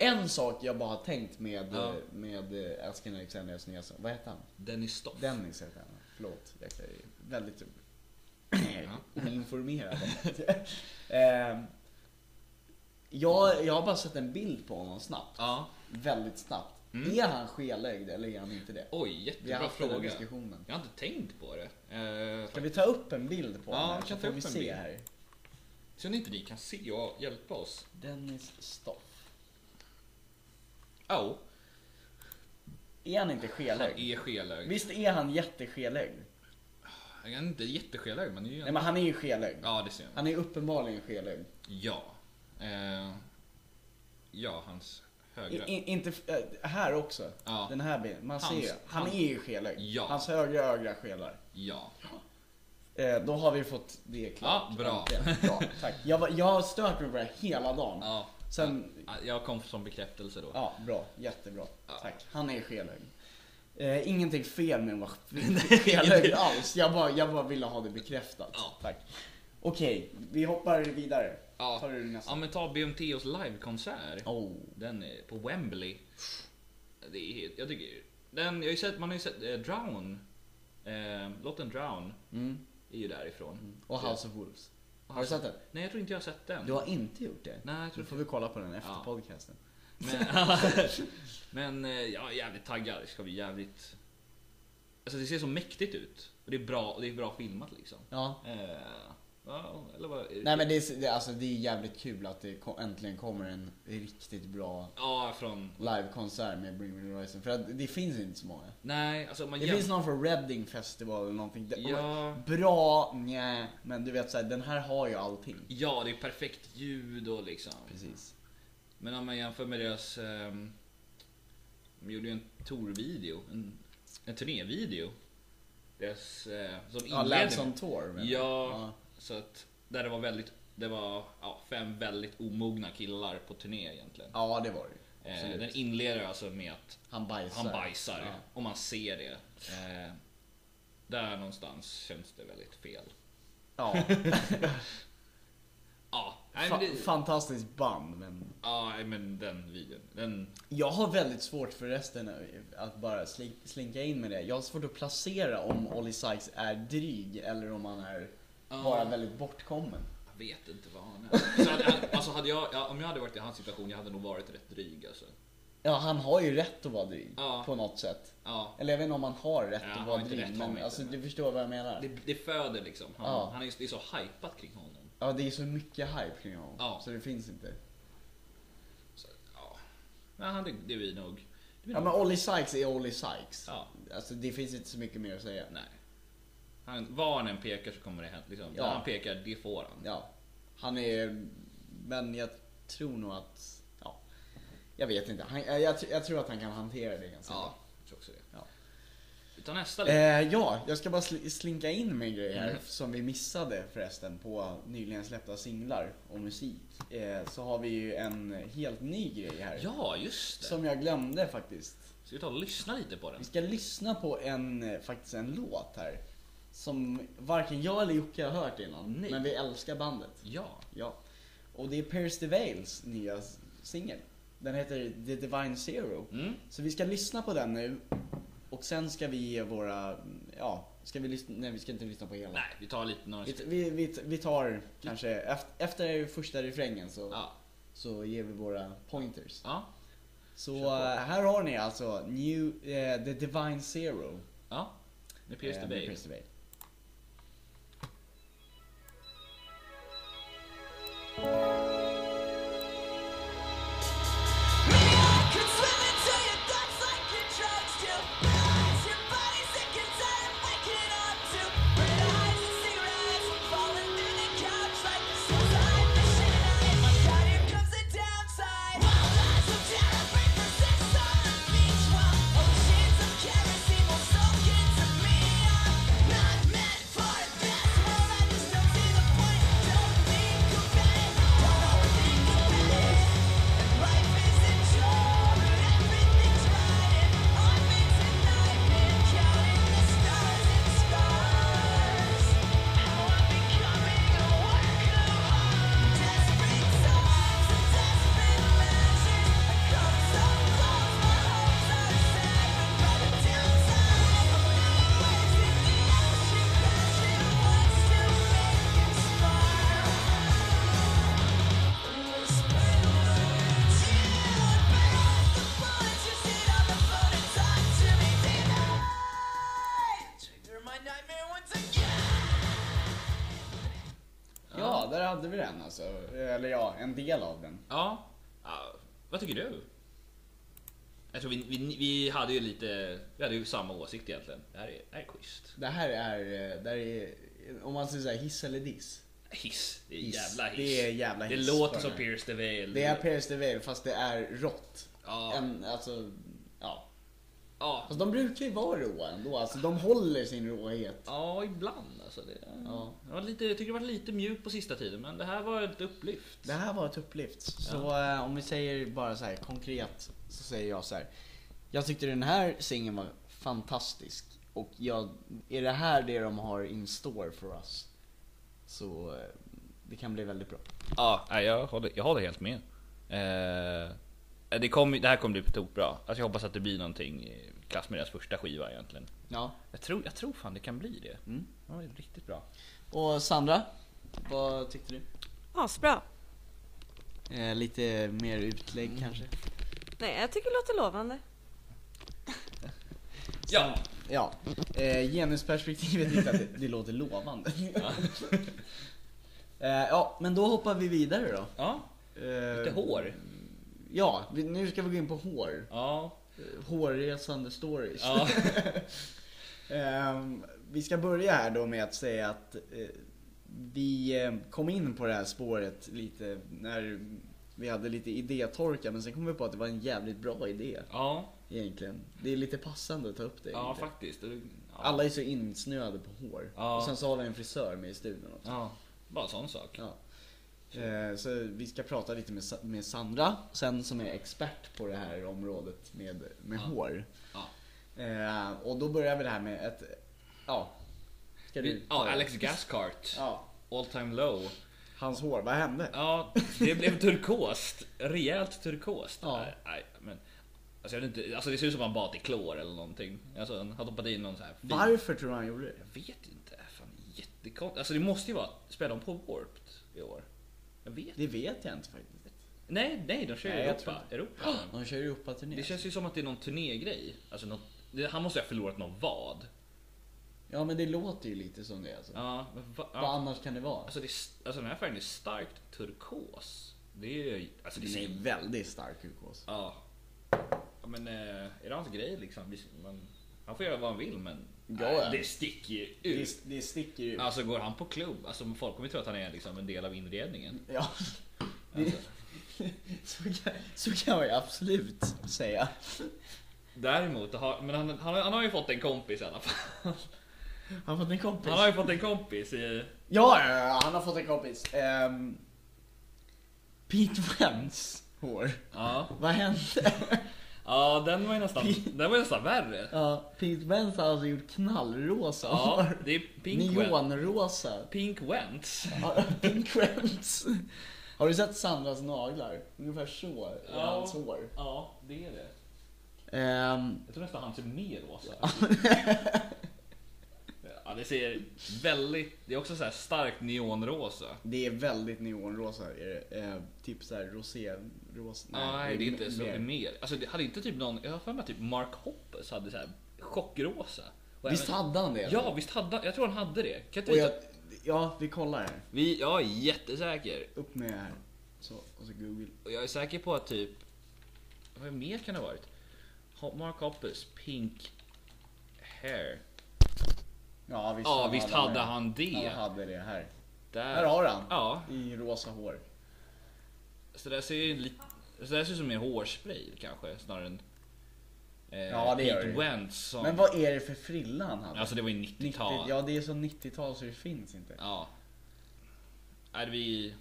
En sak jag bara har tänkt med, Ja. med eh, Askin Alexanders nya son. Vad heter han? Dennis Stoff. Dennis heter han. Förlåt. Jag är väldigt Ja. *clears throat* oinformerad. om det. eh, jag, jag har bara sett en bild på honom snabbt. Ja. Mm. Väldigt snabbt. Är han skelögd eller är han inte det? Oj, Vi har jättebra haft den här fråga. diskussionen. Jag har inte tänkt på det. Eh, Ska vi ta upp en bild på Ja, honom? här, vi kan så ta får upp vi en se bild. här. så ni inte ni kan se och hjälpa oss. Dennis Stoff. Ja. Är han inte Han skelögd? är skelögd. Visst är han jätteskelögd? Han är inte jätteskelögd men, det är ju Nej en... men han är ju skelögd. Ja det ser man. Han är uppenbarligen skelögd. Ja. Eh, ja, hans högra. I, i, inte, eh, här också. Ja. Den här bilden. Man Hans- ser ju. Han han- är ju skelögd. Ja. Hans högra öga skelar. Ja. Eh, då har vi fått det klart. Ja, bra. Äntligen. *laughs* bra tack. Jag, var, jag har stört mig på det här hela dagen. ja. Sen- Ja, Jag kom som bekräftelse då. Ja, bra. Jättebra. Ja. Tack. Han är skelögd. Eh, ingenting fel med att *laughs* vara skelögd alls. Jag bara, jag bara ville ha det bekräftat. Ja. Tack. Okej, vi hoppar vidare. Ja. Tar du nästa? Ja men ta BMTs livekonsert. Oh. Den är på Wembley. Det är, helt- jag tycker... Den, jag har ju sett, man har ju sett eh, Drown. Eh, låten Drown Mm. är ju därifrån. Och House of Wolves. Har du sett den? Nej jag tror inte jag har sett den. Mm. Du har inte gjort det? Nej, jag tror Då får vi kolla på den efter Ja. podcasten. Men, *laughs* men eh, jag är jävligt taggad. Det ska bli jävligt... Alltså det ser så mäktigt ut. Och det är bra, och det är bra filmat liksom. Ja. Eh, Ja, eller vad? Nej men det är, det, alltså, det är jävligt kul att det ko- äntligen kommer en riktigt bra Ja, från... livekonsert med Bring Me The Horizon. För att det finns inte så många. Nej, alltså om man Det jäm- finns någon från Reading Festival eller någonting. Det- Ja. Bra, nja, men du vet såhär, den här har ju allting. Ja, det är perfekt ljud och liksom. Precis. Men om man jämför med deras... ehm, de gjorde ju en tourvideo, en, en turnévideo. Deras... Eh, som Ja, inledning. Labs on Tour. menar Ja, jag. så att... Där det var väldigt... Det var ja, fem väldigt omogna killar på turné egentligen. Ja, det var det ju. eh, absolut. den inleder alltså med att Han bajsar. han bajsar Ja. och man ser det. Eh, där någonstans känns det väldigt fel. *laughs* Ja. Ja, nej, men Fa- det, fantastiskt band, men ja, nej, men den videon. Den, jag har väldigt svårt för resten att bara sli- slinka in med det. Jag har svårt att placera om Olly Sykes är dryg eller om han är Ja. bara väldigt bortkommen. Jag vet inte vad han är. Så hade, han- alltså hade jag, ja, om jag hade varit i hans situation, jag hade nog varit rätt dryg alltså. Ja, han har ju rätt att vara dryg Ja. på något sätt. Ja, Eller jag vet inte om han har rätt Ja, att han vara har inte rätt, dryg, han har men inte alltså, rätt. du förstår vad jag menar. det, det föder liksom. Han, Ja. han är, det är så hypat kring honom. Ja, det är så mycket hype kring honom, Ja. så det finns inte. Så, ja. Men han, det, det är vi nog. Det är vi Ja, nog- men Olly Sykes är Olly Sykes. Ja. Alltså, det finns inte så mycket mer att säga. Nej. Han, var han än pekar så kommer det hända. Liksom. Ja. Där han pekar, det får han. Ja, han är... Men jag tror nog att... Ja, jag vet inte. Han, jag, jag, tr- jag tror att han kan hantera det ganska Ja, bra. jag tror också det. Ja. Vi tar nästa låt. Eh, ja, jag ska bara sl- slinka in med en grej här Mhm. som vi missade förresten på nyligen släppta singlar och musik. Eh, så har vi ju en helt ny grej här. Ja, just det. Som jag glömde faktiskt. Ska vi ta och lyssna lite på den? Vi ska lyssna på en, eh, faktiskt en låt här. Som varken jag eller Jocke har hört innan. Nej. Men vi älskar bandet. Ja. Ja. Och det är Pierce DeVales nya singel. Den heter The Divine Zero. Mm. Så vi ska lyssna på den nu. Och sen ska vi ge våra, ja, ska vi lyssna, nej vi ska inte lyssna på hela. Nej, vi tar lite några... Vi, vi, vi, vi tar kanske, efter, efter första refrängen så, Ja. så ger vi våra pointers. Ja. Så Kör på. eh, här har ni alltså New, eh, The Divine Zero. ja. Med Pierce eh, the med Bay. Pierce DeVale. Ja, där hade vi den alltså. Eller ja, en del av den. Ja. ja. Vad tycker du? Jag tror vi, vi, vi hade ju lite, vi hade ju samma åsikt egentligen. Det här är, det här är schysst. Det här är, eh, där är om man säger så här, hiss eller diss. Hiss. Det är Hiss. jävla hiss. Det är jävla Det hiss låter för som mig. Pierce the Veil. Det är Pierce DeVale fast det är rått. Ja. En, alltså, ja. Ja. Alltså, de brukar ju vara råa ändå, alltså, de håller sin råhet. ja, ibland alltså. Det, Ja. det var lite, jag tycker det var lite mjukt på sista tiden men det här var ett upplyft. Det här var ett upplyft. Så eh, om vi säger bara så här konkret så säger jag så här. Jag tyckte den här singeln var fantastisk och jag, är det här det de har in store for us så eh, det kan bli väldigt bra. Ja, nej, jag håller, jag håller helt med. Eh, det, kom, det här kommer bli tokbra. Alltså jag hoppas att det blir någonting i klass med deras första skiva egentligen. Ja. Jag tror, jag tror fan det kan bli det. Mm. Ja, det är riktigt bra. Och Sandra, vad tyckte du? Asbra. Eh, lite mer utlägg kanske? Nej, jag tycker det låter lovande. Ja! Ja, eh, genusperspektivet är att det, det låter lovande. Eh, ja, men då hoppar vi vidare då. Ja, Eh, lite hår. Ja, vi, nu ska vi gå in på hår. Ja, Eh, Hårresande stories. ja. *laughs* Ehm, vi ska börja här då med att säga att eh, vi eh, kom in på det här spåret lite när vi hade lite idétorka men sen kom vi på att det var en jävligt bra idé ja, egentligen. Det är lite passande att ta upp det. ja egentligen. faktiskt. Det- Ja. Alla är så insnöade på hår. Ja. Och sen så har vi en frisör med i studion också. Ja, bara en sån sak. Ja. Eh, Så vi ska prata lite med, Sa- med Sandra sen som är expert på det här området med, med Ja. hår. Ja. Eh, Och då börjar vi det här med ett... Ja. Ska du ta Ja, det? Alex Gascart. Ja. All time low. Hans hår, vad hände? Ja, det blev turkost. Rejält turkost. Ja. Nej, nej, men, alltså, jag vet inte, alltså det ser ut som att han badat i klor eller någonting. Alltså han har doppat i någon så här fin- Varför tror du han gjorde det? Jag vet inte. Fan, jättekonstigt. Alltså det måste ju vara, spelar de på Warped i år? Jag vet Det vet jag inte faktiskt. Nej, nej, de kör i Nej, jag Europa. Europa. De kör ju upp turné. *gasps* Det känns ju som att det är någon turnégrej. Alltså, något, det, han måste ju ha förlorat någon vad. Ja men det låter ju lite som det alltså. Ja, men va, Vad ja. annars kan det vara? Alltså, det, är s- alltså den här färgen är starkt turkos. Det är ju... Alltså, det Den ser, är väldigt stark ukås. ja. ja. Men eh, är det hans grej liksom? Visst, Man, han får göra vad han vill men... Ja, nej, ja. det sticker ju ut. Det, det sticker ju ut. Alltså går han på klubb, alltså folk kommer ju tro att han är liksom en del av inredningen. Ja. Det, Alltså. så, kan, så kan jag absolut säga. Däremot, har, men han, han, han har ju fått en kompis i *laughs* alla fall. Han har fått en kompis. Han har ju fått en kompis i... Ja, ja, ja, han har fått en kompis. Ehm, Pete Wentz hår. Ja. Vad hände? Ja, den var ju nästan, den var ju nästan värre. Ja, Pete Wentz har alltså gjort knallrosa Ja, hår. det är Pink Wentz. Neonrosa. Pink Wentz. Ja, Pink Wentz. Har du sett Sandras naglar? Ungefär så är Ja. hans hår. Ja, det är det. Ehm, Jag tror nästan han typ ser mer rosa *laughs* Ja, det ser väldigt... Det är också så här starkt neonrosa. det är väldigt neonrosa. Är det. Eh, typ såhär rosérosa. Nej, det är inte så mer. mycket mer. Alltså, det hade inte typ någon... Jag har för mig att typ Mark Hoppus hade så här chockrosa. Och Visst även- hade han det? Ja, visst hade han. Jag tror han hade det. Kan inte Och vi... jag, ja, vi kollar här. vi... Jag är jättesäker. Upp med här. Så, och så google. Och jag är säker på att typ... Vad mer kan det ha varit? Ho- Mark Hoppus, Pink Hair. Ja visst, Ja, visst hade det. han Han det. hade det här. Där. Här har han. Ja, I rosa hår. så där ser ju lite... Så där ser ut som en hårspray kanske snarare än... Eh, Ja, det gör Pete det. Wentz som... Men vad är det för frilla han hade? Alltså Äh. det var ju 90, 90-tal. ja. ja det är så 90-tal så det finns inte. Nej, vi...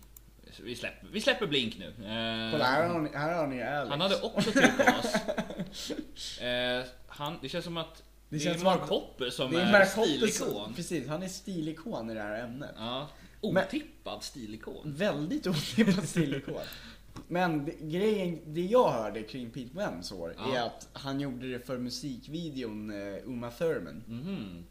Vi släpper, vi släpper Blink nu. Eh, Kolla här har ni, här har ni Alex. han hade också turkos. *laughs* eh, han, det känns som att... Det, känns är som Mark att- Hoppus som Det är, är Mark Hoppus- stilikon. Precis, han är stilikon i det här ämnet. Ja. Men- Otippad stilikon. Väldigt otippad stilikon. Men det, grejen, det jag hörde kring Pete Wentz hår är Ja. att han gjorde det för musikvideon eh, Uma Thurman. Mhm.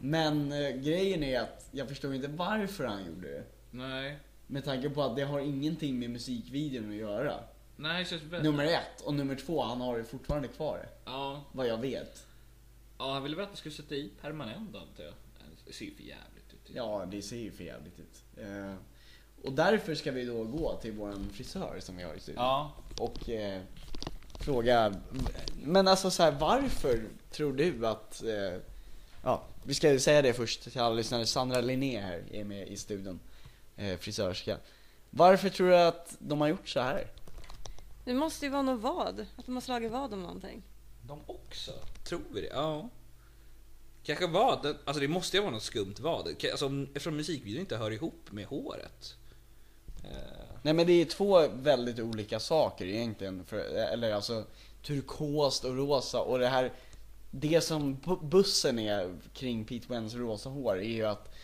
Men eh, grejen är att jag förstår inte varför han gjorde det. Nej. Med tanke på att det har ingenting med musikvideon att göra. Nej, det känns väldigt... Nummer ett och nummer två, han har det fortfarande kvar. Ja. Vad jag vet. ja, han ville väl att du skulle sätta i permanent antar jag. Det ser ju för jävligt ut. Ja, det ser ju för jävligt ut. Eh, och därför ska vi då gå till våran frisör som vi har i studion. Ja. Och eh, fråga, men alltså så här, varför tror du att, eh, ja, vi ska ju säga det först till alla lyssnare. Sandra Linné här är med i studion, eh, frisörska. Varför tror du att de har gjort så här? Det måste ju vara något vad. Att de har slagit vad om någonting. De också? Tror vi det? Ja. Kanske vad? det- Alltså det måste ju vara något skumt vad. Ka- Alltså, om- eftersom musikvideon inte hör ihop med håret. Eh, *laughs* Nej men det är två väldigt olika saker egentligen. För, eller alltså turkost och rosa och det här Det som bu- bussen är kring Pete Wens rosa hår är ju att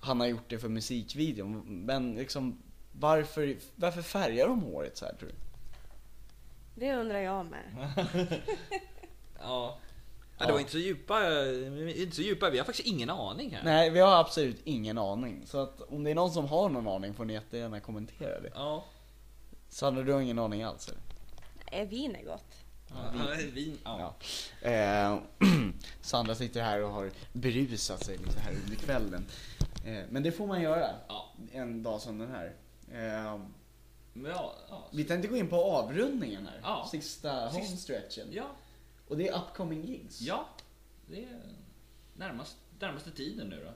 han har gjort det för musikvideon. Men liksom varför, varför färgar de håret så här tror du? Det undrar jag med. ja. Ja. ja. Det var inte så djupa, eh, inte så djupa. Vi har faktiskt ingen aning här. Nej vi har absolut ingen aning. Så att om det är någon som har någon aning får ni jättegärna kommentera det. Ja. Sandra du har ingen aning alls eller? Är vin är gott. Ja, vin. Ja. Ja. Eh, *clears throat* Sandra sitter här och har berusat sig lite här under kvällen. Eh, men det får man göra. Ja. en dag som den här. Eh, Men ja, ja, vi tänkte gå in på avrundningen här. Ja. Sista Sist- home stretchen. ja, Och det är upcoming gigs. ja. Det är närmast, närmaste tiden nu då.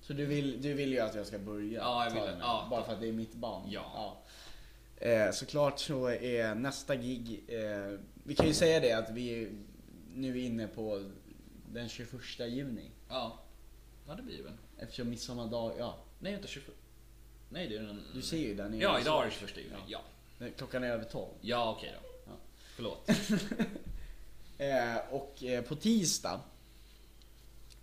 Så du vill, du vill ju att jag ska börja? Ja, jag ta vill den det. här, Ja. Bara för att det är mitt band? Ja. Eh, såklart så är nästa gig, eh, vi kan ju säga det att vi är nu inne på den 21 juni. Ja, ja det blir det väl. Eftersom midsommardag, ja. Nej, vänta 21. Nej, det är den... Du ser ju där nere. Ja, idag är det 21 juni. Ja. Ja, Nej, Klockan är över 12. ja okej då. Ja. Förlåt. Eh, och eh, på tisdag,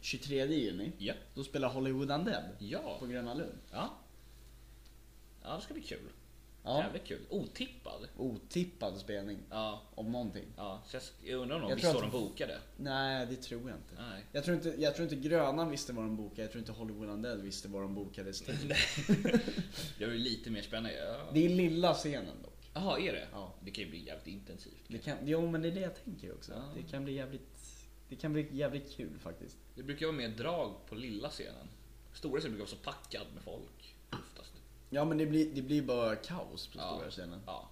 23 juni, Ja. då spelar Hollywood Undead Ja. på Gröna Lund. Ja. Ja, det ska bli kul. Ja. Jävligt kul. Otippad. Otippad spelning, Ja. om någonting. Ja, så jag, s- jag undrar om de Jag visste tror vad att- de bokade. Nej, det tror jag inte. *laughs* Nej. Jag tror, inte, jag tror inte Grönan visste vad de bokade, jag tror inte Hollywood Undead visste vad de bokades till. *laughs* Jag är lite mer spännande. Ja. Det är lilla scenen dock. Jaha, är det? Ja. Det kan ju bli jävligt intensivt. Det kan, jo men det är det jag tänker också. Ja. Det kan bli jävligt det kan bli jävligt kul faktiskt. Det brukar vara mer drag på lilla scenen. Stora scenen brukar vara så packad med folk. Oftast. Ja men det blir, det blir bara kaos på Ja. stora scenen. Ja.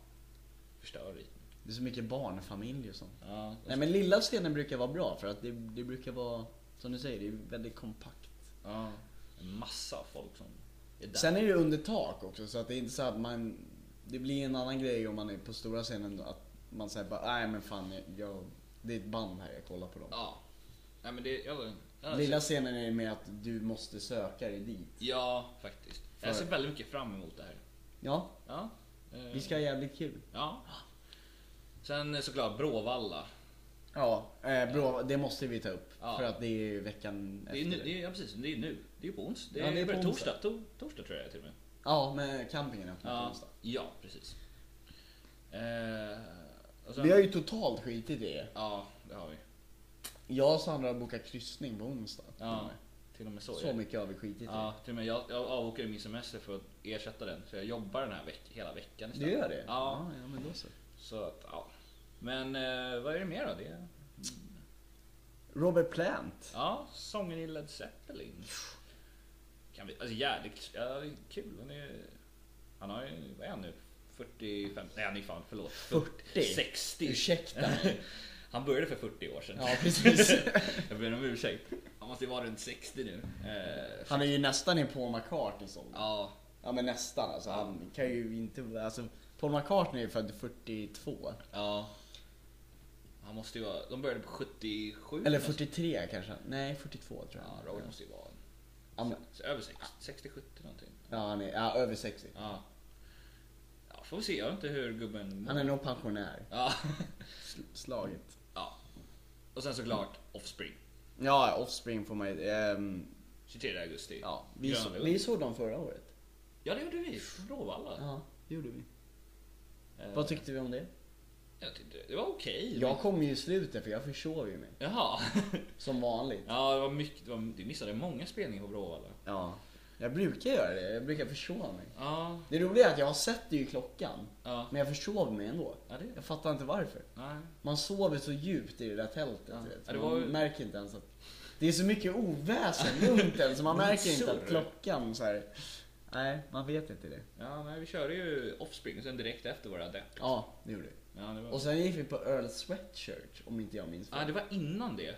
Förstör lite. Det är så mycket barnfamilj och sånt. Ja. Nej men lilla scenen brukar vara bra för att det, det brukar vara, som du säger, det är väldigt kompakt. ja. En massa folk som är där. Sen är det under tak också så att det är inte så att man Det blir en annan grej om man är på stora scenen att man säger bara nej men fan jag, jag, det är ett band här jag kollar på dem. Ja. Nej men det... Jag, jag, Lilla scenen är med att du måste söka dig dit. Ja, faktiskt. Jag För- ser väldigt mycket fram emot det här. Ja, Ja. eh, vi ska ha jävligt kul. Ja. Sen eh, såklart Bråvalla. Ja, eh, bra, det måste vi ta upp. Ja. För att det är veckan Det är, efter. nu, det är, ja, precis, det är nu. Det är på onsdag. Det Ja, är, det är på börjar onsdag. torsdag. To, torsdag tror jag till och med. Ja, men campingen öppnar på Ja, onsdag. ja precis. Eh, och sen, Vi har ju totalt skitit i det. Ja, det har vi. Jag och Sandra har bokat kryssning på onsdag. till och Ja, med. till och med så. Så ja. mycket har vi skitit i. Ja, till och med jag, jag avbokade min semester för att ersätta den. Så jag jobbar den här veck, hela veckan Du gör det? Ja. ja, men då så. Så att, ja. Men eh, vad är det mer då? Det är, Robert Plant. ja, sången i Led Zeppelin. Kan vi, alltså jävligt ja, det är kul. Han, är, han har ju, vad är han nu? 45? Nej han är fan, förlåt. 40? 60? Ursäkta mig. *laughs* Han började för 40 år sedan. Ja, precis. *laughs* jag ber om ursäkt. Han måste ju vara runt 60 nu. Eh, Han är ju nästan i Paul McCartneys ålder. ja, Ja men nästan alltså. Han kan ju inte... Alltså, Paul McCartney är ju född 42. ja. Han måste ju vara, de började på 77. Eller nästan. 43 kanske. Nej, 42 tror jag. Ja, Robert måste ju vara Ja, men, se- över 60, 60, 70 någonting. ja, han är ja, över 60. Ja. ja, får vi se. Jag vet inte hur gubben Han är nog pensionär. Ja. *laughs* Slaget. ja. Och sen såklart Offspring. Ja, Offspring får man ju... ehm, 23 augusti. ja, vi, så, Gröna Lund. vi såg dem förra året. Ja, det gjorde vi. Från Bråvalla. Ja, det gjorde vi. Eh, Vad tyckte vi om det? jag tyckte det var okej. Jag kom ju i slutet för jag försov ju mig. Jaha. *laughs* Som vanligt. Ja, det var mycket. Det var, du missade många spelningar på Bråvalla. Ja. Jag brukar göra det, jag brukar försova mig. Ja, Det roliga är att jag har sett det i klockan, ja. men jag försov mig ändå. Ja, det... Jag fattar inte varför. Nej. Man sover så djupt i det där tältet. Ja. Vet. Ja, det Man var ju- märker inte ens att... Det är så mycket oväsen runt en *laughs* så man märker inte att Surr. klockan så här... Nej, man vet inte det. Ja, nej, vi körde ju Offspring och sen direkt efter våra depp. Ja, det gjorde vi. Ja, det var... Och sen gick vi på Earl Sweatshirt om inte jag minns Ja, det var innan det.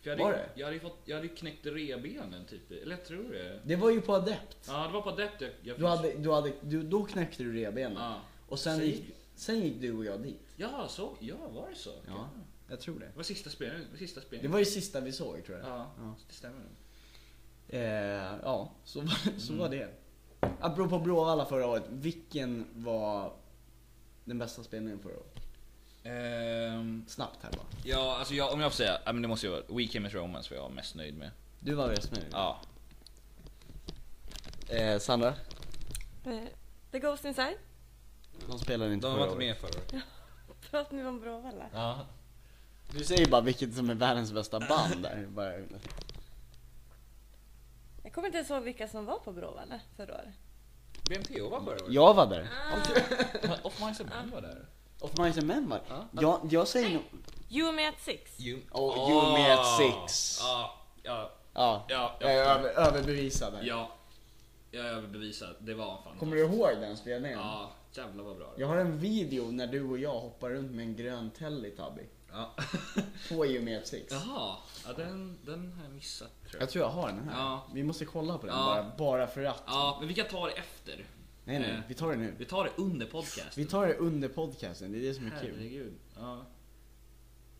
För jag hade, Var det? Jag hade ju fått, jag hade ju knäckt revbenen typ. Eller jag tror det. Det var ju på Adept. Ja, det var på Adept jag... jag Du hade, du hade, du, då knäckte du revbenen. Ja. Och sen Sen gick, sen gick du och jag dit. Ja, så. Ja, var det så? Ja, jag tror det. Det var sista spelningen. Sista Det spelningen. var ju sista vi såg tror jag. Ja, Ja, det stämmer nog. eh, ja så, var, *laughs* så var det. Apropå Bråvalla förra året, vilken var den bästa spelningen förra året? Ehm, Snabbt här bara. ja, alltså jag, om jag får säga. ja, men det måste ju vara Weekend with Romance var jag mest nöjd med. Du var mest nöjd? Ja. Eh, Sandra? Eh, The Ghost Inside. *laughs* De spelade inte De var förra inte året. med förra året. Pratar ni om Bråvalla? Ja. Du säger bara vilket som är världens bästa band *laughs* där. Bara. Jag kommer inte ens ihåg vilka som var på Bråvalla förra året. BMTO var förra året. Ah. Jag var där. Off Minds and Men var där. Of Mice and Men var Ja. jag, jag säger nog... You Me At Six. You, Och You Me At Six. Ah. Eh. Ja, ja, Ja, Ja, jag är jag över, överbevisad här. ja. jag är överbevisad. Det var fan Kommer du ihåg den spelningen? Ja, jävlar vad bra det Jag har en video när du och jag hoppar runt med en grön Teletubby. var. På Geomet 6. Jaha, ja, den, den har jag missat tror jag. Jag tror jag har den här. Ja. Vi måste kolla på den Ja. bara, bara för att. Ja, men vi kan ta det efter. Nej nej, Eh. vi tar det nu. Vi tar det under podcasten. Vi tar det under podcasten, det är det som är kul. Herregud. Ja.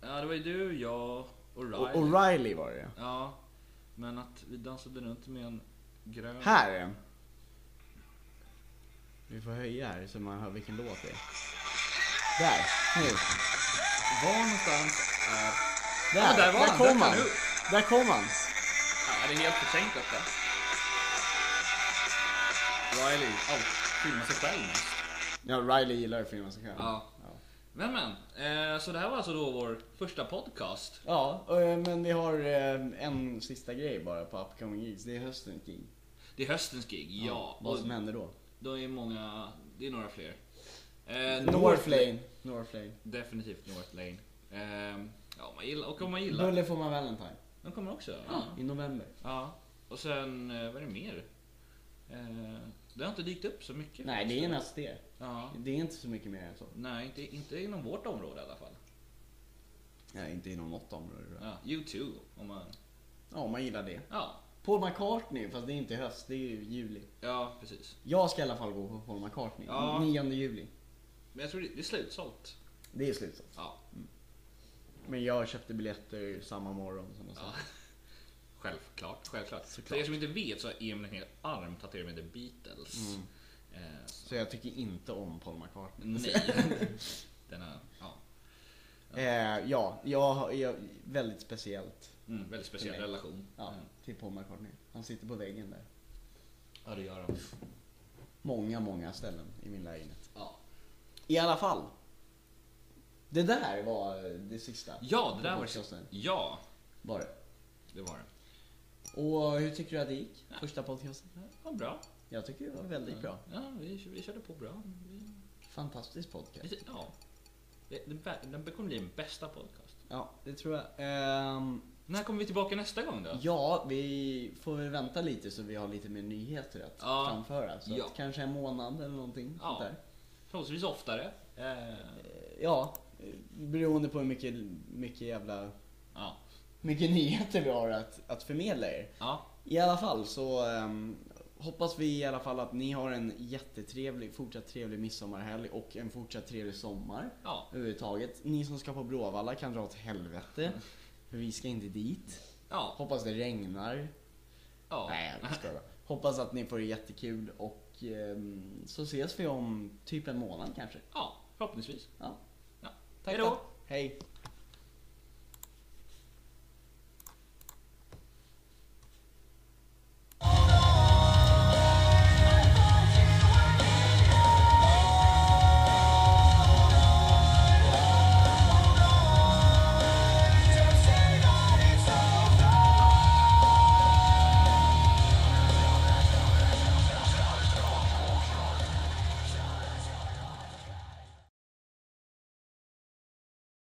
ja, det var ju du, jag och Riley. Och O'Reilly var det Ja, men att vi dansade runt med en grön... Här är den. Vi får höja här så man hör vilken låt det är. Där, nu. Var någonstans är... Där, Ja, där var han, kom där han. kom du. Där kom han. Ja, det är helt förtänkt detta. Riley, allt. Filmar sig själv mest. Ja, Riley gillar ju filmen så själv. Ja. Men men, eh, så det här var alltså då vår första podcast. Ja, eh, men vi har eh, en sista grej bara på Upcoming Gigs. Det är höstens gig. Det är höstens gig, ja. Vad Och som händer då? då är många, det är några fler. Eh, North Lane. North Lane. Definitivt North Lane. Ehm, ja, om man gillar, och om man gillar. Buller får man Valentine. De kommer också. Ja. I november. ja. Och sen, eh, vad är det mer? Eh, det har inte dykt upp så mycket. Nej, det är näst det. Ja. Det är inte så mycket mer än så. Nej, inte, inte inom vårt område i alla fall. Nej, inte inom något område. tror jag. Ja, U2 om man... Ja, om man gillar det. Ja, Paul McCartney, fast det är inte höst, det är ju juli. ja precis. Jag ska i alla fall gå på Paul McCartney. Ja. 9 juli. Men jag tror det, det är slutsålt. Det är slutsålt. Ja, Men jag köpte biljetter samma morgon som jag sa. Ja. *laughs* Självklart, självklart. Såklart. För er som inte vet så har Emil en hel arm tatuerad med The Beatles. Mm. *laughs* Eh, så, Så jag tycker inte om Paul McCartney. Mm. nej. *laughs* Denna, ja. Eh, ja, jag har jag, väldigt speciellt Mm, väldigt speciell Nej. relation. ja, Mm. till Paul McCartney. Han sitter på väggen där. Ja, det gör de. Många, många ställen i min lägenhet. Ja, I alla fall. Det där var eh, det sista. ja det där var Podcasten. Ja, Var det. det var det. Och hur tycker du att det gick? Första podcasten? Ja, bra. Jag tycker det var väldigt bra. Ja, vi, vi körde på bra. Vi, Fantastisk podcast. vi, ja. Det, det, bä- det kommer bli den bästa podcast. Ja, det tror jag. Ehm, När kommer vi tillbaka nästa gång då? ja, vi får väl vänta lite så vi har lite mer nyheter att Ja. framföra. Så Ja. att kanske en månad eller någonting. Ja. Sånt där. Förhoppningsvis oftare. Eh, Eh, Ja, eh, beroende på hur mycket, mycket jävla ja. mycket nyheter vi har att, att förmedla er. ja. I alla fall så ehm, hoppas vi i alla fall att ni har en jättetrevlig, fortsatt trevlig midsommarhelg och en fortsatt trevlig sommar. Ja. Överhuvudtaget. Ni som ska på Bråvalla kan dra åt helvete. För vi ska inte dit. Ja. Hoppas det regnar. ja. Nej, jag skojar bara. Hoppas att ni får det jättekul och ehm, så ses vi om typ en månad kanske. Ja, förhoppningsvis. Ja. Ja. Tack Hejdå. då. Hej.